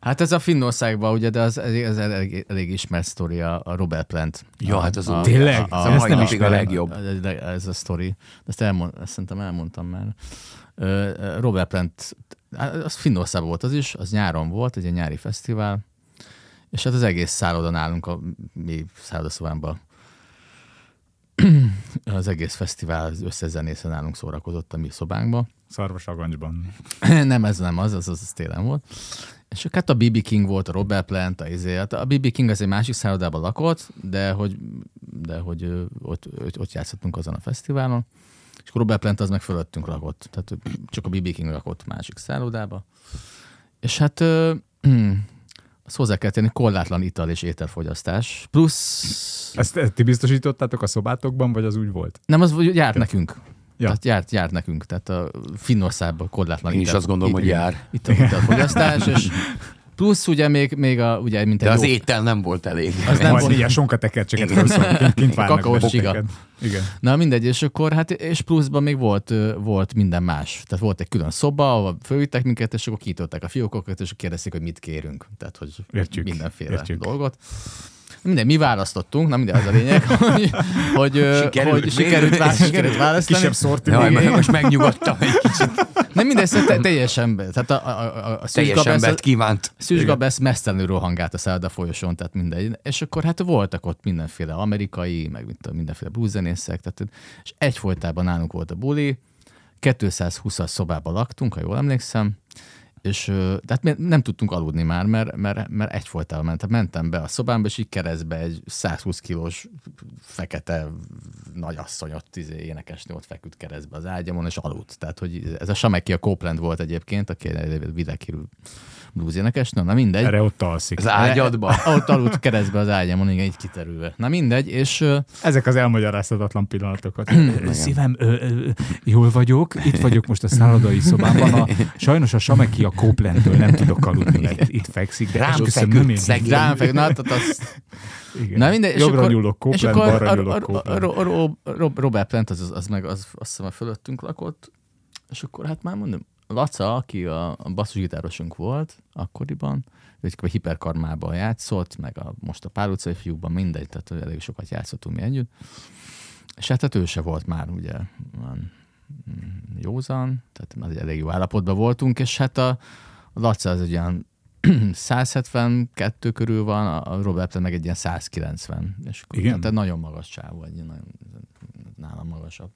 D: Hát ez a Finnországban, ugye, de az, ez elég, elég ismert sztori a, a Robert Plant.
E: Ja, hát az a,
C: Tényleg?
E: Az a
D: szóval
C: Ezt
E: mai
C: nem
E: napig a
C: ismerem.
E: legjobb.
D: Ez- ez- Ez a sztori. Ezt, elmond, ezt szerintem elmondtam már. Ö, ö, Robert Plant, hát az Finnországban volt az is, az nyáron volt, egy ilyen nyári fesztivál, és hát az egész szálloda nálunk, a mi szállodaszobámban az egész fesztivál az összezenésze nálunk szórakozott a mi szobánkba.
C: Szarvas agancsban.
D: nem, ez nem az, az, az, az télen volt. És hát a BB King volt, a Robert Plant, a, izé, hát a BB King az egy másik szállodában lakott, de hogy, de hogy ö, ott, ott, ott játszottunk azon a fesztiválon, és akkor Robert Plant az meg fölöttünk lakott, tehát ö, csak a BB King lakott másik szállodába. És hát ö, azt hozzá kell tenni, korlátlan ital és ételfogyasztás, plusz
C: Ezt ezt ti biztosítottátok a szobátokban, vagy az úgy volt?
D: nem az, hogy járt nekünk.
C: Ja.
D: Ja. Tehát járt, járt nekünk, tehát a Finnországban korlátlan
E: Én is
D: ital-
E: azt gondolom, hogy
D: ital-
E: jár.
D: itt a, itt a fogyasztás, és plusz ugye még, még a, ugye, mint egy
E: De az
D: jó-
E: étel nem volt elég.
D: az nem
C: Majd
D: volt,
C: ilyen sonka tekercseket fölszor, kint, kint várnak
D: Kakaós
C: benneteket.
D: csiga.
C: Igen.
D: Na mindegy, és akkor hát, és pluszban még volt, ö, volt minden más. Tehát volt egy külön szoba, ahol fölvittek minket, és akkor kinyitották a fiókokat, és kérdezték, hogy mit kérünk. Tehát, hogy
C: Értjük,
D: mindenféle
C: értjük.
D: dolgot. Minden, mi választottunk, na minden az a lényeg, hogy, hogy, ö,
E: Sikerült.
D: hogy sikerült, vá- sikerült választani.
C: Kisebb szorti.
E: Jaj,
C: még.
E: meg most megnyugodtam egy kicsit.
D: Nem mindegy, szóval te, teljes ember. Tehát a, a, a, a
E: Teljes
D: szűzsgabesz-
E: embert kívánt.
D: Szűcs Gabesz mesztelenül rohangált a szálloda folyosón, tehát mindegy. És akkor hát voltak ott mindenféle amerikai, meg mint tudom, mindenféle blueszenészek, tehát, és egyfolytában nálunk volt a buli, 220-as szobában laktunk, ha jól emlékszem, és ö, tehát mi nem tudtunk aludni már, mert, mert, mert egyfolytában ment. Tehát mentem be a szobámba, és így keresztbe egy 120 kilós fekete nagyasszony ott izé, énekesnő ott feküdt keresztbe az ágyamon, és aludt. Tehát, hogy ez a Sameki a Copeland volt egyébként, aki egy világhírű blues énekesnő, na mindegy.
C: Erre ott alszik.
E: Az ágyadba.
D: Ott aludt keresztbe az ágyamon, igen, így kiterülve. Na mindegy, és ö,
C: Ezek az elmagyarázhatatlan pillanatokat. Szívem, ö, ö, jól vagyok, itt vagyok most a szállodai szobában. A, sajnos a Sameki a Copelandtől nem tudok aludni, mert itt fekszik. De
E: Rám
C: esküszöm,
E: feküdt,
C: nem én-
E: szegény.
D: rám feküdt, na, tehát az,
C: Igen.
D: na mindegy.
C: Jobbra nyúlok Copeland,
D: és akkor
C: balra
D: a-
C: nyúlok
D: a- a-
C: Copeland.
D: Ro- Ro- Ro- Robert Plant, az, az, az meg az, azt hiszem, a fölöttünk lakott, és akkor hát már mondom, Laca, aki a, a basszusgitárosunk volt akkoriban, ő egy hiperkarmában játszott, meg a, most a pár utcai fiúkban mindegy, tehát hogy elég sokat játszottunk mi együtt. És hát, hát ő se volt már ugye olyan mm, józan, tehát már egy elég jó állapotban voltunk, és hát a, a Laca az egy olyan 172 körül van, a- a Robert meg egy ilyen 190. És akkor,
C: Igen?
D: Tehát nagyon magas csávó, egy ilyen nagyon, nálam magasabb.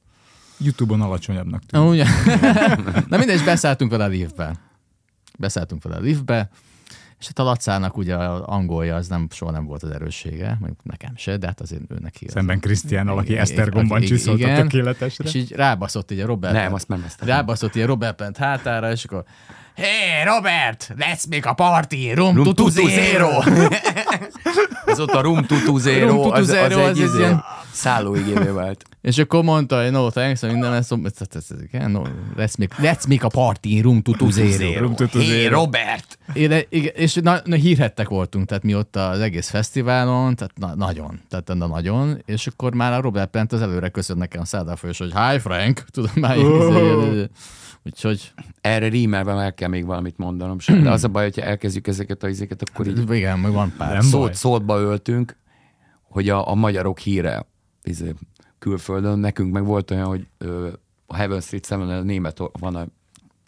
C: Youtube-on alacsonyabbnak tűnik.
D: Úgy, na mindegy, és beszálltunk vele a liftbe. Beszálltunk vele a liftbe, és hát a Lacának ugye a angolja az nem, soha nem volt az erőssége, mondjuk nekem se, de hát azért ő neki. az-
C: Szemben Krisztián, aki
D: Igen,
C: Esztergomban
D: Hát igen,
C: csiszolt a
D: igen.
C: tökéletesre.
D: És így rábaszott így a Robert.
E: Nem, azt nem ezt.
D: Rábaszott így a Robert Plant hátára, és akkor Hé, hey, Robert, let's make a party, room,
E: Room
D: to two
E: to two
D: zero.
E: Ez ott a Room
D: Room
E: Tutuzero, az, az,
D: tutuzero, az
E: egy
D: egy
E: izé,
D: ilyen-
E: szállóigévé vált.
D: És akkor mondta, hogy no thanks, hogy minden lesz, ez, ez, ez, igen, no, let's, make, let's make a party, room to two zero.
C: Room to two
E: Hé,
C: zero.
E: Robert!
D: Én, igen, és na, na, hírhettek voltunk, tehát mi ott az egész fesztiválon, tehát na, nagyon, tehát na, nagyon, és akkor már a Robert Plant az előre köszön nekem szádáfolyos, hogy hi Frank, tudom már, oh. úgyhogy
E: Erre rímelve már kell még valamit mondanom. sem. De az a baj, hogyha elkezdjük ezeket a izéket, akkor így
D: igen, meg van pár.
C: Nem baj.
E: szót szótba öltünk, hogy a, a magyarok híre izé, külföldön. Nekünk meg volt olyan, hogy ö, a Heaven Street szemben a német van a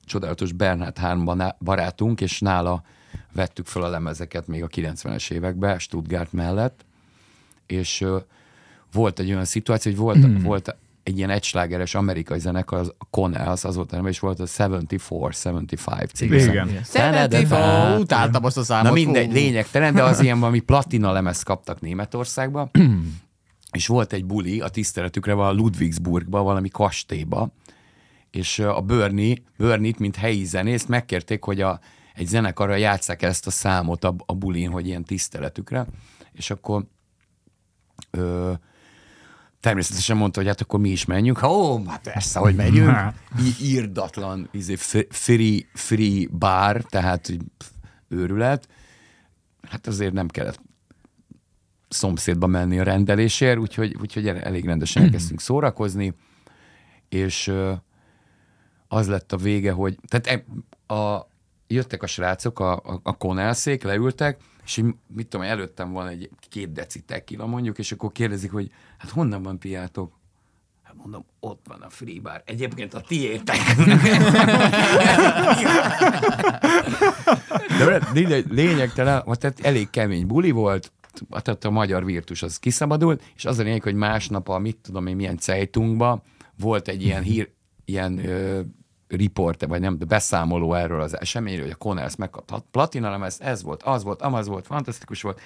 E: csodálatos Bernhard Hahn baná- barátunk, és nála vettük fel a lemezeket még a 90-es években, Stuttgart mellett, és ö, volt egy olyan szituáció, hogy volt,
C: Hmm.
E: mm. volt egy ilyen egyslágeres amerikai zenekar, az Connells, az volt a neve, és volt a 74-75 című
C: Igen.
E: zene.
D: Szeretem, utáltam azt a számot.
E: Na mindegy,
D: fú.
E: lényegtelen, de az ilyen valami platina lemez kaptak Németországba, és volt egy buli a tiszteletükre van Ludwigsburgba, valami kastélyba, és ö, a Börni, Börnit, mint helyi zenészt megkérték, hogy a, egy zenekarra játsszák ezt a számot a, a bulin, hogy ilyen tiszteletükre, és akkor ö, természetesen mondta, hogy hát akkor mi is menjünk. Ha, ó, hát persze, hogy megyünk. I- írdatlan izé, f- free, free bar, tehát hogy pff, őrület. Hát azért nem kellett szomszédba menni a rendelésért, úgyhogy, úgyhogy el- elég rendesen elkezdtünk szórakozni, és ö, az lett a vége, hogy tehát e- a, jöttek a srácok, a, a, a konelszék, leültek, és így, mit tudom, előttem van egy két deci tekila mondjuk, és akkor kérdezik, hogy hát honnan van piátok? Hát mondom, ott van a free bar. Egyébként a tiétek. De lényeg, lényegtelen, vagy tehát elég kemény buli volt, tehát a magyar virtus az kiszabadult, és az a lényeg, hogy másnap a mit tudom én milyen cejtunkba volt egy ilyen hír, ilyen ö, riporte, vagy nem, de beszámoló erről az eseményről, hogy a Connells megkapta a platina lemezt, ez volt, az volt, amaz volt, fantasztikus volt,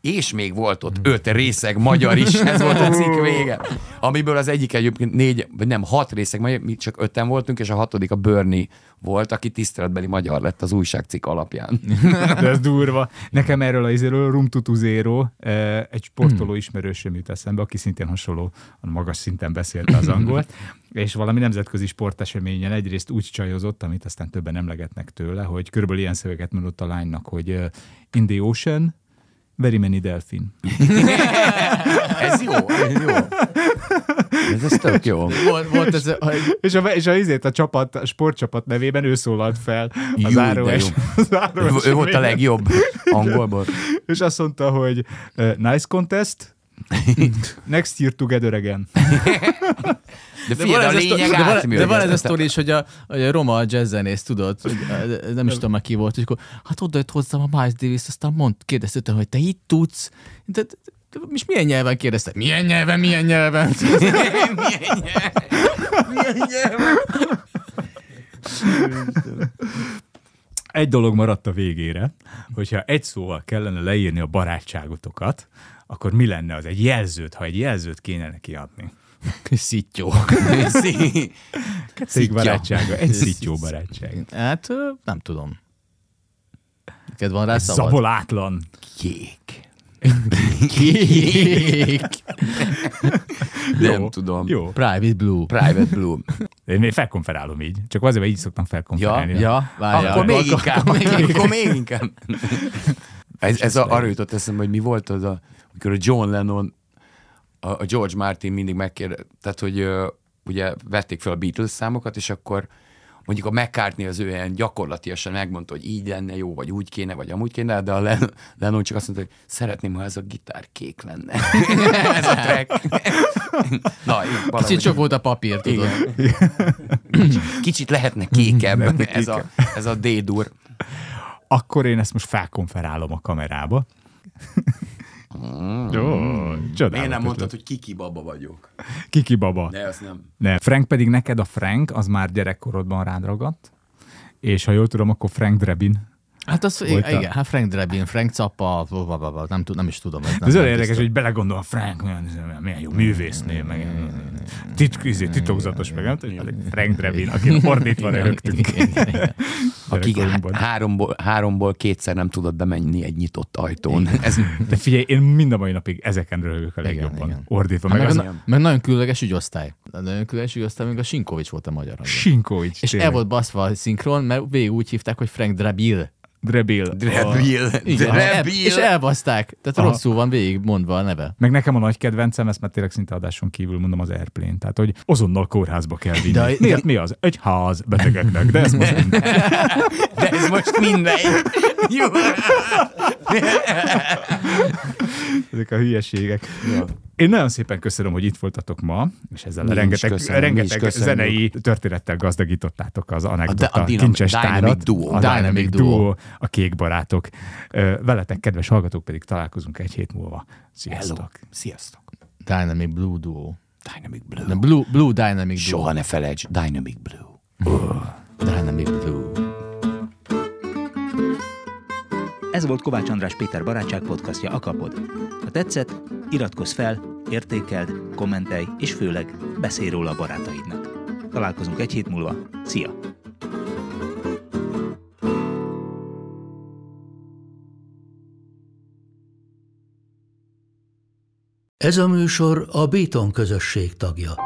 E: és még volt ott
D: Hmm.
E: öt részeg magyar is, ez volt a cikk vége, amiből az egyik egyébként négy, vagy nem, hat részeg magyar, mi csak öten voltunk, és a hatodik a Börni volt, aki tiszteletbeli magyar lett az újságcikk alapján.
C: De ez durva. Nekem erről a izéről, Room to Zero, eh, egy sportoló ismerősöm jut eszembe, aki szintén hasonló, magas szinten beszélte az angolt, és valami nemzetközi sporteseményen egyrészt úgy csajozott, amit aztán többen emlegetnek tőle, hogy körülbelül ilyen szöveget mondott a lánynak, hogy eh, in the ocean, very many delfin.
E: Ez jó, ez jó. Ez, ez tök jó.
D: Volt, volt ez, a-
C: És a, és a, izét, a csapat, a sportcsapat nevében ő szólalt fel
E: Jú,
C: az
E: de
C: záró és,
E: jó.
C: a záró
E: Ő, ő volt a
C: eseményen.
E: legjobb angolból.
C: És azt mondta, hogy eh, nice contest, next year together again.
E: De figyelj, de a
D: ez sztori-
E: lényeg
D: de van-
E: átműögött.
D: de van ez a sztori is, hogy a, hogy a roma jazzzenész, tudod, hogy, eh, nem is tudom már ki volt, és akkor hát oda jött hozzám a Miles Davis, aztán mond, kérdezte tőle, hogy te itt tudsz, de, de, de és milyen nyelven kérdezte? Milyen nyelven, milyen nyelven?
C: Egy dolog maradt a végére, hogyha egy szóval kellene leírni a barátságotokat, akkor mi lenne az? Egy jelzőt, ha egy jelzőt kéne neki adni.
D: Szittyó.
C: Szittyó. barátsága, egy szittyó barátság.
D: Hát ö, nem tudom. Neked van rá szabad?
C: Zabolátlan.
E: Kék.
D: Kék.
E: Nem tudom.
C: Jó.
D: Private Blue.
E: Private Blue.
C: Én még felkonferálom így. Csak azért, mert így szoktam felkonferálni.
D: Ja, várjál.
E: Akkor még inkább.
D: Akkor még
E: Akkor még inkább. Ez, ez a, arra jutott eszembe, hogy mi volt az, a, amikor a John Lennon, a, a George Martin mindig megkérdezte, tehát hogy ö, ugye vették fel a Beatles számokat, és akkor mondjuk a McCartney az ő ilyen gyakorlatilag megmondta, hogy így lenne jó, vagy úgy kéne, vagy amúgy kéne, de a Len- Lennon csak azt mondta, hogy szeretném, ha ez a gitár kék lenne. ez a track. Na, így valahogy-
D: Kicsit sok volt a papír, tudod.
E: Kicsit lehetne kékebb ez a, ez a D-dur.
C: Akkor én ezt most felkonferálom a kamerába. Jó,
E: Miért nem
C: csodálatos.
E: mondtad,
C: lett.
E: hogy kiki baba vagyok?
C: Kiki baba.
E: De azt nem.
C: Ne. Frank pedig neked a Frank, az már gyerekkorodban rád ragadt, és ha jól tudom, akkor Frank Drebin.
D: Hát az,
C: Volt a-
D: igen, hát Frank Drebin, Frank Zappa, blablabla, nem, tud, nem is tudom. Ez nem,
C: Ez
D: nem
C: olyan érdekes,
D: tiszta.
C: hogy belegondol a Frank, milyen, milyen jó művésznél, meg titk, izé, titokzatos, meg nem tudom, hogy Frank Drebin, aki fordítva röhögtünk.
E: Aki hát
C: Gyerekkorunkban.
D: hát-
E: háromból, háromból kétszer nem tudott bemenni egy nyitott ajtón. Ez,
C: De figyelj, én mind a mai napig ezeken röhögök a legjobban.
D: igen.
C: Ordítva,
D: Hát
C: meg,
D: meg,
C: az
D: a- meg, nagyon különleges ügyosztály. A nagyon különleges ügyosztály, még a Sinkovics volt a magyar hangja.
C: Sinkovics.
D: És el volt baszva a szinkron, mert végig úgy hívták, hogy Frank Drabil.
C: Drebil.
D: Hát
E: Drebil.
D: Igen, el,
E: Drebil.
D: és elbaszták. Tehát
C: Aha.
D: rosszul van végig mondva a neve.
C: Meg nekem a nagy kedvencem, ezt már tényleg szinte adáson kívül mondom az Airplane, tehát hogy azonnal kórházba kell vinni.
D: De-
C: De, Miért mi az? Egy ház betegeknek, de ez most mind.
E: De ez most mindegy. Jó.
C: ezek a hülyeségek. Én nagyon szépen köszönöm, hogy itt voltatok ma, és ezzel
E: Mi
C: a
E: is
C: rengeteg,
E: köszönjük, mi is
C: rengeteg
E: köszönjük.
C: zenei történettel gazdagítottátok az anekdota,
E: a dinam-
C: kincses
E: Dynamic
C: tárat,
E: Duo.
C: a Dynamic,
D: Dynamic
C: duo.
D: Duo,
C: a kék barátok. Ö, Veletek, kedves hallgatók, pedig találkozunk egy hét múlva. Sziasztok!
E: Hello. Sziasztok.
D: Dynamic Blue Duo.
E: Dynamic Blue.
D: Nem, Blue, Blue Dynamic Duo.
E: Soha ne felejtsd, Dynamic Blue.
D: Dynamic Blue.
F: Ez volt Kovács András Péter barátság podcastja Akapod. Ha tetszett, iratkozz fel, értékeld, kommentelj, és főleg beszélj róla a barátaidnak. Találkozunk egy hét múlva. Szia!
A: Ez a műsor a Béton közösség tagja.